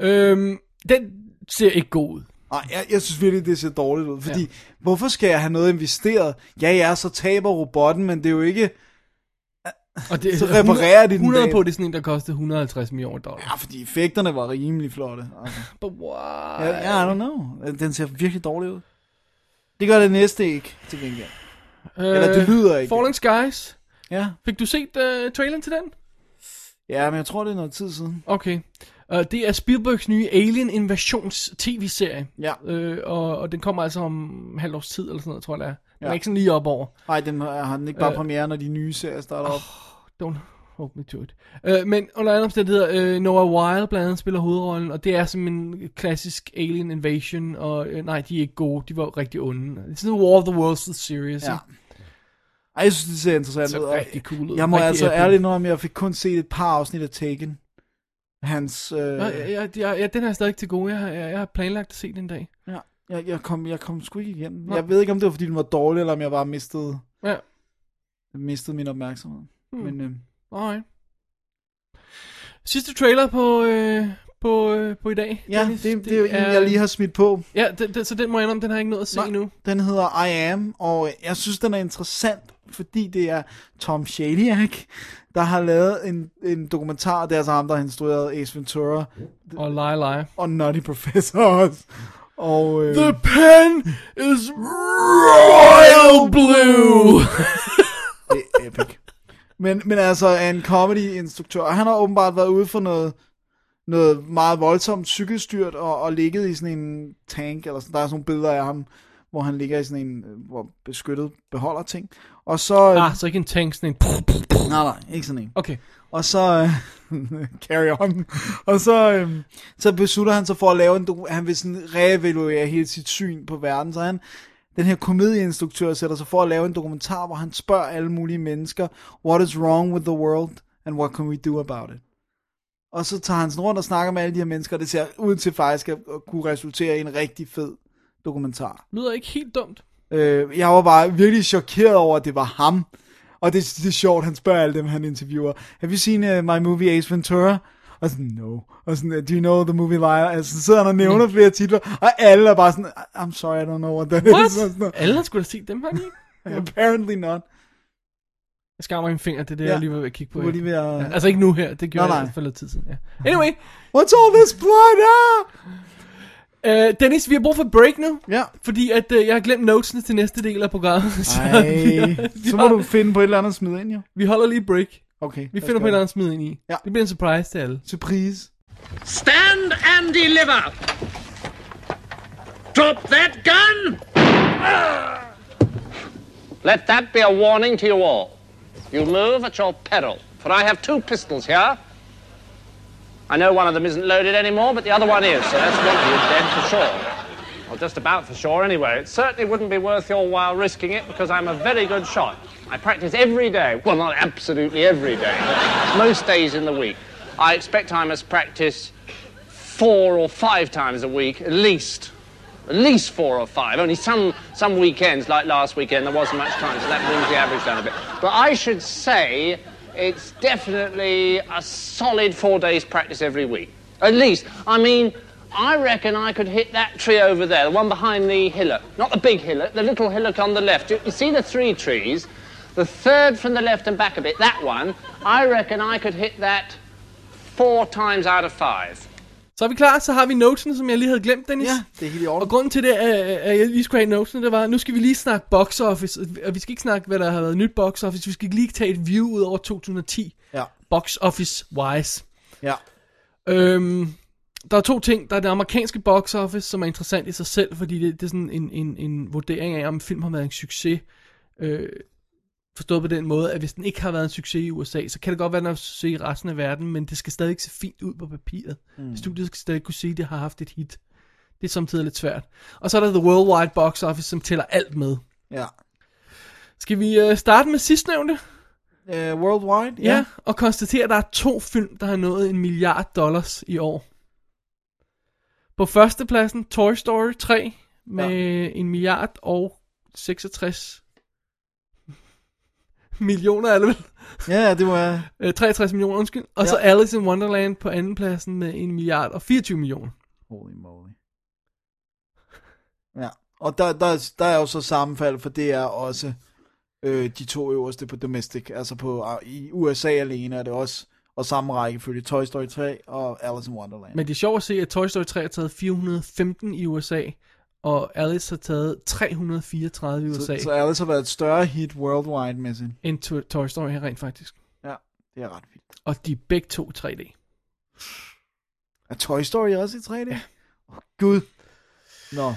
S7: Øhm, den ser ikke god ud.
S6: Nej, jeg, jeg synes virkelig, det ser dårligt ud, fordi ja. hvorfor skal jeg have noget investeret? Ja, ja, så taber robotten, men det er jo ikke...
S7: Og det,
S6: Så reparerer de den
S7: 100
S6: bag-
S7: på, det er sådan en, der kostede 150 millioner dollar.
S6: Ja, fordi effekterne var rimelig flotte. Altså.
S7: But why?
S6: Ja, ja, I don't know. Den ser virkelig dårlig ud. Det gør det næste ikke, til gengæld. eller det lyder ikke.
S7: Øh, Falling Skies.
S6: Ja,
S7: Fik du set uh, traileren til den?
S6: ja men jeg tror, det er noget tid siden.
S7: Okay. Uh, det er Spielbergs nye Alien Invasions tv-serie.
S6: Ja.
S7: Øh, og, og den kommer altså om halvårs tid, eller sådan noget, tror jeg det er. Den ja. er
S6: Ja.
S7: ikke sådan lige op over.
S6: Nej, den har har den ikke bare
S7: Øh.
S6: premiere, når de nye serier starter op.
S7: Don't hold me to it. Øh, men under andre omstændigheder, øh, Noah Wild blandt andet spiller hovedrollen, og det er som en klassisk Alien Invasion, og øh, nej, de er ikke gode, de var jo rigtig onde. Det er sådan en War of the Worlds series.
S6: Ja.
S7: Ja.
S6: Ej, jeg synes, det ser interessant
S7: Så
S6: ud. og
S7: rigtig cool ud.
S6: Jeg må
S7: Rigtig
S6: altså
S7: epic.
S6: ærligt indrømme, jeg fik kun set et par afsnit af Taken. Hans... Øh,
S7: Ja, ja, ja, ja, den er jeg stadig til gode. Jeg har, jeg, jeg har planlagt at se den dag.
S6: Ja, jeg, jeg, kom, jeg kom sgu ikke igen. Jeg ved ikke, om det var, fordi den var dårlig, eller om jeg bare mistede,
S7: Ja,
S6: mistede min opmærksomhed. Hmm. Men øh,
S7: alright. Sidste trailer på, øh, på, øh, på i dag.
S6: ja,
S7: Dennis.
S6: det, det, det er jo en, jeg lige har smidt på.
S7: Ja, den, den, så den må jeg indrømme, den har jeg ikke nået at se
S6: Nej.
S7: endnu.
S6: Den hedder I Am, og jeg synes, den er interessant, fordi det er Tom Shadyac, der har lavet en, en dokumentar. Det er altså ham, der har instrueret Ace Ventura
S7: Og lege, lege.
S6: og Nutty Professor også. Og, øh,
S7: The pen is royal blue.
S6: det er epic. Men, men altså, er en comedy-instruktør. Han har åbenbart været ude for noget, noget meget voldsomt cykelstyrt og, og ligget i sådan en tank, eller sådan. der er sådan nogle billeder af ham, hvor han ligger i sådan en øh, hvor beskyttet beholder ting. Og så...
S7: [laughs] ah, så ikke en tank, sådan en... [laughs]
S6: nej, nej, ikke sådan en.
S7: Okay.
S6: Og så... Øh, [laughs] carry on. Og så, øh, så beslutter han sig for at lave en... doku- Han vil sådan reevaluere hele sit syn på verden. Så han, den her komedieinstruktør sætter sig for at lave en dokumentar, hvor han spørger alle mulige mennesker, what is wrong with the world, and what can we do about it? Og så tager han sådan rundt og snakker med alle de her mennesker, og det ser ud til faktisk at at kunne resultere i en rigtig fed dokumentar.
S7: Lyder ikke helt dumt.
S6: Øh, jeg var bare virkelig chokeret over, at det var ham. Og det, det er sjovt, han spørger alle dem, han interviewer. Have you seen uh, my movie Ace Ventura? Og sådan, no. Og sådan, uh, do you know the movie Liar? Altså, så sidder han og
S7: Mm.
S6: nævner flere titler, og alle er bare sådan, I'm sorry, I don't know what that is. [laughs]
S7: What?
S6: Og sådan, noget.
S7: Alle har skulle da se dem, har de ikke?
S6: Apparently not.
S7: Jeg skammer min finger, det er det,
S6: Ja.
S7: jeg lige var ved at kigge på.
S6: Du var lige ved at-
S7: Ja, altså ikke nu her, det
S6: Nej,
S7: gjorde nej,
S6: nej.
S7: jeg for lidt tid siden. Ja. Anyway,
S6: What's all this blood? Ah!
S7: øh, Dennis, vi har brug for et break nu.
S6: Ja.
S7: Fordi at øh, jeg har glemt notesene til næste del af programmet. [laughs] Så
S6: Ej, så må du finde på et eller andet at smide ind, jo.
S7: vi holder lige et break.
S6: Okay.
S7: Vi
S6: lad os
S7: finder på
S6: gøre
S7: et eller
S6: det.
S7: andet smid ind i.
S6: Ja.
S7: Det bliver en surprise til alle.
S6: Surprise.
S9: Stand and deliver. Drop that gun. Let that be a warning to you all. You move at your peril, for I have two pistols here. I know one of them isn't loaded anymore, but the other one is, so that's one of you dead for sure. Or just about for sure, anyway. It certainly wouldn't be worth your while risking it because I'm a very good shot. I practice every day. Well, not absolutely every day, but most days in the week. I expect I must practice four or five times a week, at least. At least four or five. Only some, some weekends, like last weekend, there wasn't much time, so that brings the average down a bit. But I should say it's definitely a solid four days' practice every week. At least. I mean, I reckon I could hit that tree over there, the one behind the hillock. Not the big hillock, the little hillock on the left. You, you see the three trees? The third from the left and back a bit, that one. I reckon I could hit that four times out of five.
S7: Så er vi klar, så har vi notesene, som jeg lige havde glemt, Dennis.
S6: Ja, det er helt i orden.
S7: Og grunden til det, at at jeg lige skulle have notesen, det var, nu skal vi lige snakke box office, og vi skal ikke snakke, hvad der har været nyt box office, vi skal lige tage et view ud over 2010,
S6: Ja.
S7: box office wise.
S6: Ja.
S7: Øhm, der er to ting. Der er det amerikanske box office, som er interessant i sig selv, fordi det, det er sådan en, en, en vurdering af, om en film har været en succes. Øh, forstået på den måde, at hvis den ikke har været en succes i USA, så kan det godt være, at den er en succes i resten af verden, men det skal stadig ikke se fint ud på papiret. Mm. Studiet skal stadig kunne sige, at det har haft et hit. Det er samtidig lidt svært. Og så er der The Worldwide Box Office, som tæller alt med.
S6: Ja.
S7: Skal vi øh, starte med sidstnævnte? Øh,
S6: Uh, worldwide?
S7: Ja. ja. Og konstatere, at der er to film, der har nået en milliard dollars i år. På førstepladsen Toy Story 3 med ja. en milliard og 66 [laughs] millioner, er det vel?
S6: Ja, det var...
S7: Øh, 63 millioner, undskyld. Og ja. så Alice in Wonderland på andenpladsen med en milliard og 24 millioner.
S6: Holy moly. Ja, og der, der, der er jo så sammenfald, for det er også øh, de to øverste på domestic, altså på i USA alene er det også, og samme rækkefølge, Toy Story 3 og Alice in Wonderland.
S7: Men det er sjovt at se, at Toy Story 3 har taget 415 i USA, og Alice har taget 334 i USA,
S6: så, så Alice har været et større hit worldwide med sin.
S7: end to- Toy Story her rent faktisk.
S6: Ja, det er ret vildt.
S7: Og de er begge to 3D.
S6: Er Toy Story også i 3D? Ja. Oh, Gud. Nå,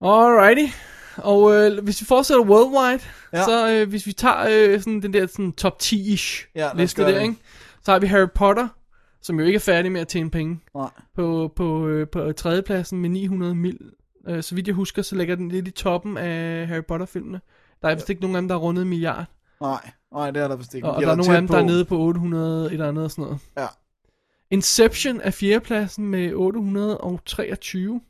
S7: Alrighty. Og øh, hvis vi fortsætter worldwide,
S6: Ja.
S7: ja. så øh, hvis vi tager øh, sådan den der sådan, top 10-ish
S6: Ja, lad os
S7: liste
S6: gøre
S7: der,
S6: det.
S7: ikke? så har vi Harry Potter, som jo ikke er færdig med at tjene penge,
S6: nej.
S7: på, på, øh, på tredjepladsen med 900 mil. Øh, så vidt jeg husker, så ligger den lidt i toppen af Harry Potter-filmene. Der er vist ikke nogen af dem, der har rundet en milliard.
S6: Nej, nej, det er der vist ikke.
S7: Og, og
S6: De
S7: der er
S6: da
S7: nogle af
S6: tæt
S7: dem, der er
S6: på.
S7: nede på 800 et eller andet og sådan noget.
S6: Ja.
S7: Inception er fjerdepladsen med 823.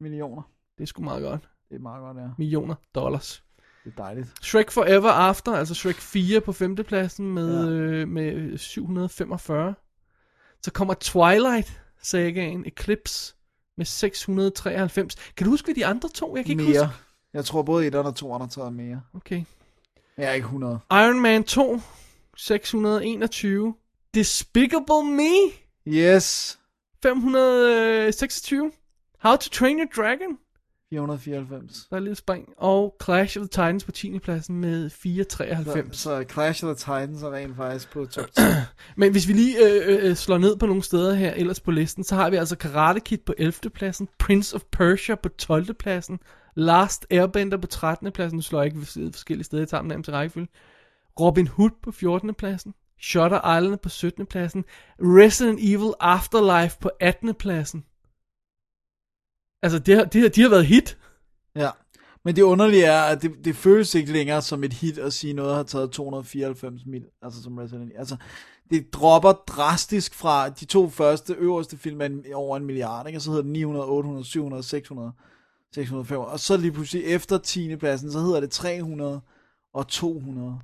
S6: Millioner.
S7: Det er sgu meget godt.
S6: Det er meget godt, ja.
S7: Millioner dollars.
S6: Det er dejligt.
S7: Shrek Forever After, altså Shrek 4 på femtepladsen med,
S6: Ja.
S7: ja. øh, med 745. Så kommer Twilight sagaen Eclipse med 693. Kan du huske, hvad de andre to? Jeg kan ikke
S6: Mere.
S7: huske.
S6: Jeg tror både 1 og 2 har taget mere.
S7: Okay.
S6: Jeg er ikke 100.
S7: Iron Man 2, 621. Despicable Me,
S6: Yes.
S7: 526. How to Train Your Dragon,
S6: 494.
S7: der er lidt spring, og Clash of the Titans på 10. pladsen med
S6: Så,
S7: 4,93.
S6: så Clash of the Titans er rent faktisk på top 10.
S7: Men hvis vi lige øh, øh, øh, slår ned på nogle steder her ellers på listen, så har vi altså Karate Kid på 11. pladsen, Prince of Persia på 12. pladsen, Last Airbender på 13. pladsen, nu slår jeg ikke side- forskellige steder sammen nærmest i rækkefølge, Robin Hood på 14. pladsen, Shutter Island på 17. pladsen, Resident Evil Afterlife på 18. pladsen. Altså, det har, det har, de har været hit.
S6: Ja. Men det underlige er, at det, det føles ikke længere som et hit at sige noget har taget 294 mil, altså som Resident Evil. Altså, det dropper drastisk fra de to første øverste film er en- over en milliard, ikke? og så hedder det 900, 800, 700, 600, 605, og så lige pludselig efter 10. pladsen, så hedder det 300 og 200.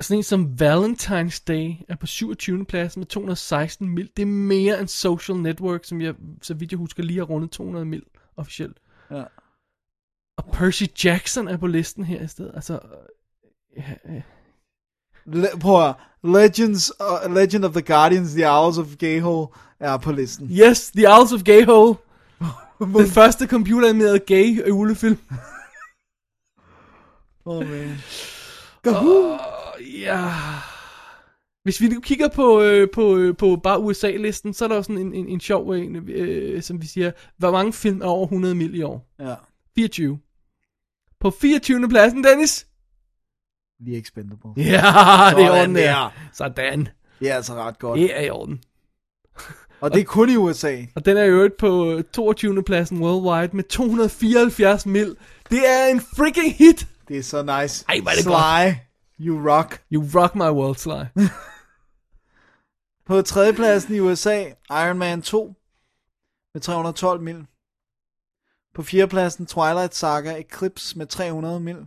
S7: Sådan en som Valentine's Day er på 27. pladsen med 216 mil. Det er mere end Social Network, som jeg, så vidt jeg husker, lige har rundet 200 mil officielt.
S6: Ja.
S7: Og Percy Jackson er på listen her i stedet. Altså, øh, ja, øh.
S6: Le- prøv at høre. Legends, uh, Legend of the Guardians, The Hours of Gayhole er på listen.
S7: Yes, The Owls of Gay Hole. Den første computeranimerede gay julefilm.
S6: Oh, man.
S7: Ja. Hvis vi nu kigger på, øh, på, øh, på bare USA-listen, så er der jo sådan en, en, en sjov en, øh, som vi siger, hvor mange film er over 100 mil i år?
S6: Ja,
S7: 24. På 24. pladsen, Dennis.
S6: The Expendable.
S7: Ja, det er i orden
S6: Sådan
S7: der.
S6: der.
S7: Sådan.
S6: Det er altså ret godt.
S7: Det er i orden.
S6: Og det er kun i USA.
S7: Og den er i øvrigt på øh, 22. pladsen worldwide med 274 mil. Det er en freaking hit.
S6: Det er så nice.
S7: Ej, hvor er det
S6: Sly, you rock.
S7: You rock my world, Sly.
S6: På tredjepladsen i USA, Iron Man 2 med 312 mil. På fjerdepladsen, Twilight Saga Eclipse med 300 mil.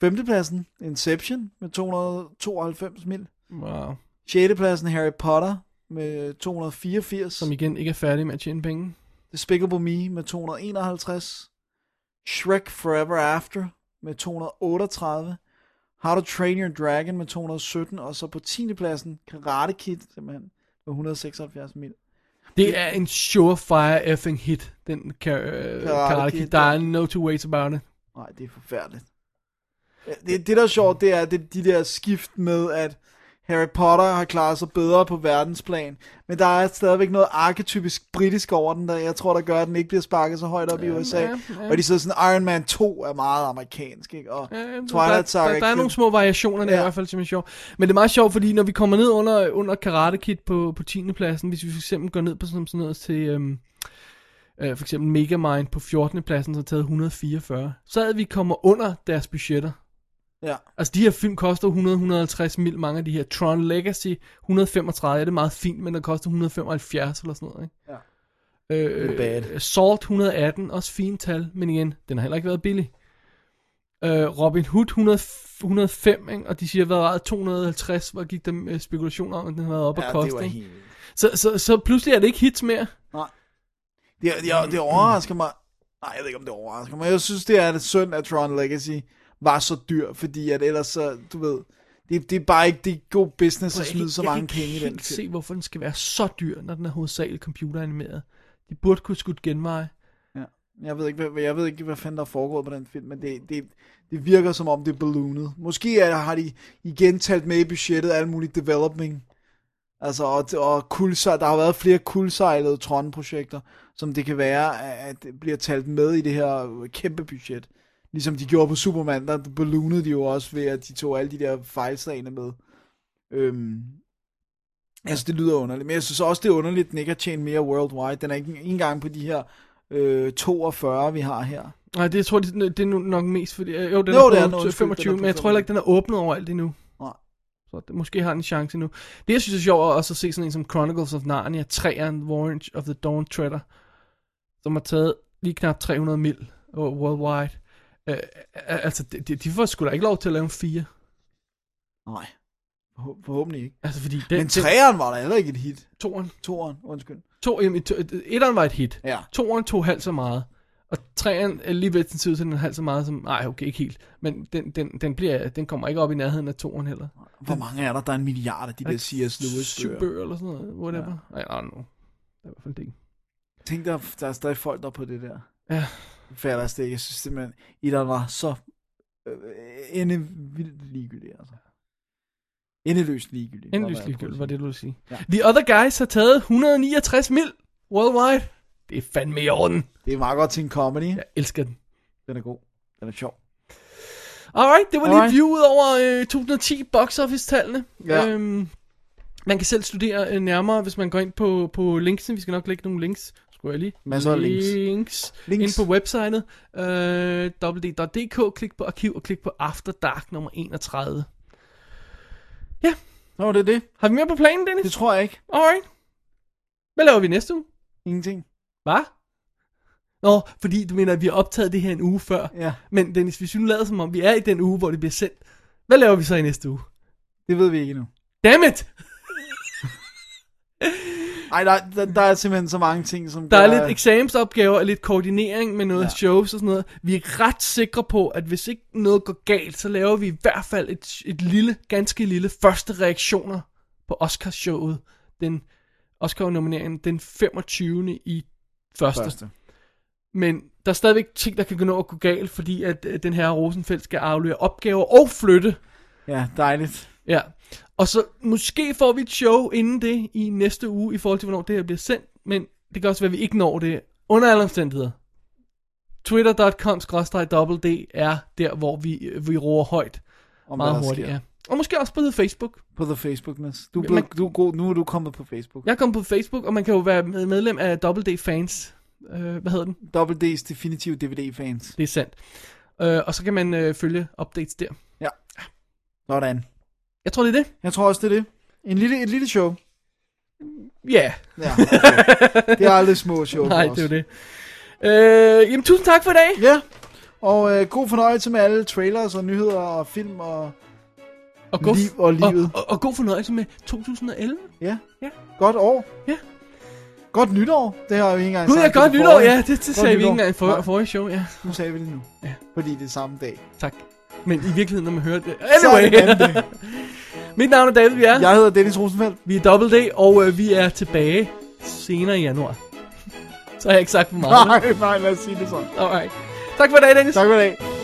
S6: Femtepladsen, Inception med 292 mil.
S7: Wow.
S6: Sjettepladsen, Harry Potter med 284.
S7: Som igen ikke er færdig med at tjene penge.
S6: Despicable Me med 251. Shrek Forever After med 238. How to Train Your Dragon med 217. Og så på 10. pladsen Karate Kid simpelthen med 176 mil.
S7: Det er en surefire effing hit, den kar- øh, Karate Kid.
S6: Kid,
S7: Der
S6: ja.
S7: er no two ways about it.
S6: Nej, det er forfærdeligt. Ja, Det, det der er sjovt, det er det, de der skift med, at Harry Potter har klaret sig bedre på verdensplan, men der er stadigvæk noget arketypisk britisk over den, der jeg tror, der gør, at den ikke bliver sparket så højt op i USA.
S7: ja, ja.
S6: Og de sidder sådan, Iron Man 2 er meget amerikansk, ikke? Og
S7: Ja, ja, der,
S6: Twilight Saga...
S7: der, der er
S6: Kid-
S7: nogle små variationer der ja. i
S6: Ja.
S7: hvert fald, som er sjov. Men det er meget sjovt, fordi når vi kommer ned under, under Karate Kid på, på 10. pladsen, hvis vi for eksempel går ned på sådan, sådan noget til øhm, øh, for eksempel Megamind på 14. pladsen, så har taget 144, så havde vi kommer under deres budgetter.
S6: Ja.
S7: Altså de her film koster 100-150 mil, mange af de her. Tron Legacy 135, ja, det er meget fint, men den koster 175 eller sådan noget, ikke?
S6: Ja.
S7: Øh,
S6: bad.
S7: øh, Salt 118, også fint tal, men igen, den har heller ikke været billig. Øh, Robin Hood 100, 105, ikke? og de siger, hvad var det, 250, hvor gik der øh, spekulationer om, at den har været op ja,
S6: ja,
S7: at
S6: det
S7: koste.
S6: var
S7: ikke?
S6: helt... vildt.
S7: Så, så, så pludselig er det ikke hits mere.
S6: Det, det, det overrasker mig... Nej, jeg ved ikke, om det overrasker mig. Jeg synes, det er synd, at Tron Legacy var så dyr, fordi at ellers så, du ved... Det, det er bare ikke det er god business at
S7: Jeg kan-
S6: smide så
S7: jeg kan
S6: mange
S7: ikke
S6: penge i den
S7: helt
S6: film.
S7: se, hvorfor den skal være så dyr, når den er hovedsageligt computeranimeret. De burde kunne skudt genveje.
S6: Jeg ved, ikke, hvad, jeg ved ikke, hvad fanden der er foregået på den film, men det, det, det virker som om, det er balloonet. Måske er, har de igen talt med i budgettet alle mulige developing. Altså, og, og kulsej, der har været flere kulsejlede Tron-projekter, som det kan være, at at det bliver talt med i det her kæmpe budget. Ligesom de gjorde på Superman, der balloonede de jo også ved, at de tog alle de der fejlslagene med. Øhm, altså, det lyder underligt. Men jeg synes også, det er underligt, at den ikke har tjent mere worldwide. Den er ikke, ikke engang på de her øh, 42, vi har her.
S7: Nej, det jeg tror jeg, det er nu nok mest, fordi... øh, Jo, den
S6: Jo, det
S7: er
S6: er
S7: på
S6: den, undskyld,
S7: 25,
S6: den er på
S7: men jeg tror heller ikke, den er åbnet overalt endnu.
S6: Nej.
S7: Så det, måske har den en chance endnu. Det, jeg synes er sjovt, er også at se sådan en som Chronicles of Narnia, 3'eren, Warrant of the Dawn Treader, som har taget lige knap 300 mil worldwide. Øh, altså, de, de, de får sgu da ikke lov til at lave en 4.
S6: Nej. Forhå- Forhåbentlig ikke.
S7: Altså, fordi den...
S6: Men træeren var da heller ikke et hit.
S7: Den, toeren,
S6: Toeren, undskyld.
S7: to, jamen, to, etteren var et hit.
S6: Ja.
S7: Toeren tog halvt så meget. Og træeren er lige ved den tid, så den er halvt så meget som... Nej, okay, ikke helt. Men den, den, den, bliver, den kommer ikke op i nærheden af toeren heller.
S6: Hvor mange er der? Der er en milliard af de der C.S. Lewis
S7: Syv
S6: bøger.
S7: bøger eller sådan noget. Whatever. Ja. I don't know. Det er i hvert fald det ikke.
S6: Tænk dig, der er stadig folk der er på det der.
S7: Ja.
S6: Jeg Fatter det ikke. Jeg synes simpelthen, Elon var så øh, endevildt ligegyldig, altså. Endeløst ligegyldig.
S7: Endeløst
S6: hvad jeg prøver
S7: ligegyldigt,
S6: at
S7: var
S6: sige.
S7: det, du ville sige.
S6: Ja.
S7: Ja. The Other Guys har taget 169 mil worldwide. Det er fandme i orden.
S6: Det er meget godt til en comedy. Ja.
S7: Jeg elsker den.
S6: Den er god. Den er sjov.
S7: Alright, det var lige
S6: Alright.
S7: viewet over øh, 2010 box office-tallene.
S6: Ja.
S7: Øhm, man kan selv studere øh, nærmere, hvis man går ind på, på linksene. Vi skal nok lægge nogle links. Skulle jeg lige?
S6: Masser af links.
S7: Links.
S6: Links.
S7: links. Ind på websitet. Øh, www.dk. Klik på arkiv og klik på After Dark nummer 31.
S6: Nå, det er det.
S7: Har vi mere på planen, Dennis?
S6: Det tror jeg ikke.
S7: Alright. Hvad laver vi næste uge?
S6: Ingenting.
S7: Hvad? Nå, fordi du mener, at vi har optaget det her en uge før.
S6: Ja,
S7: Men Dennis, hvis vi nu lader som om, vi er i den uge, hvor det bliver sendt. Hvad laver vi så i næste uge?
S6: det ved vi ikke endnu.
S7: Damn it!
S6: Ej, der, der, der er simpelthen så mange ting, som
S7: Der
S6: gør,
S7: er lidt eksamensopgaver og lidt koordinering med noget
S6: Ja.
S7: ja. shows og sådan noget. Vi er ret sikre på, at hvis ikke noget går galt, så laver vi i hvert fald et, et lille, ganske lille første reaktioner på Oscarshowet. Den Oscar-nomineringen den 25. i første. første.
S6: Første.
S7: Men der er stadigvæk ting, der kan gå nå at gå galt, fordi at øh, den her Rosenfeldt skal aflevere opgaver og flytte.
S6: Ja, dejligt.
S7: Ja. Og så måske får vi et show inden det i næste uge, i forhold til, hvornår det her bliver sendt. Men det kan også være, at vi ikke når det. Under alle omstændigheder. Twitter.com D er der, hvor vi, vi roer højt.
S6: Om hvad
S7: Meget
S6: der
S7: hurtigt,
S6: sker
S7: ja. Og måske også på Facebook.
S6: På the Facebookness. Du, er
S7: Ja,
S6: blevet,
S7: man-
S6: du er god, nu er du kommet på Facebook.
S7: Jeg kom på Facebook, og man kan jo være med- medlem af D Fans. Øh, hvad hedder den?
S6: Double D's definitive DVD-fans.
S7: Det er sandt. Øh, og så kan man øh, følge updates der.
S6: Sådan.
S7: Jeg tror, det er det.
S6: Jeg tror også, det er det. En lille, et lille show.
S7: Ja. Yeah.
S6: Ja, okay.
S7: [laughs]
S6: det er aldrig små show for
S7: Nej,
S6: os.
S7: det er jo det. Øh, jamen, tusind tak for i dag.
S6: Ja, og øh, god fornøjelse med alle trailers og nyheder og film og
S7: Og god,
S6: Liv og livet.
S7: Og, og, og god fornøjelse med 2011.
S6: ja.
S7: Ja.
S6: Godt år.
S7: Ja.
S6: Godt nytår. Det har vi ikke engang
S7: Gud,
S6: sagt
S7: jeg
S6: i det
S7: godt nytår.
S6: forrige.
S7: Ja, det, det sagde vi ikke
S6: nytår.
S7: engang i
S6: Nej.
S7: for, forrige show. Ja,
S6: Nu sagde vi det nu.
S7: Ja.
S6: Fordi det er samme dag.
S7: tak. Men i virkeligheden, når man hører det...
S6: Så er det en anden
S7: Anyway.
S6: dag.
S7: [laughs] Mit navn er David, vi er. Ja.
S6: Jeg hedder Dennis Rosenfeldt.
S7: Vi er Double D, og øh, vi er tilbage senere i januar. [laughs] Så har jeg ikke sagt for meget.
S6: [laughs] Nej, nej, lad os sige det sådan.
S7: Alright. Tak for i dag, Dennis.
S6: Tak for i dag.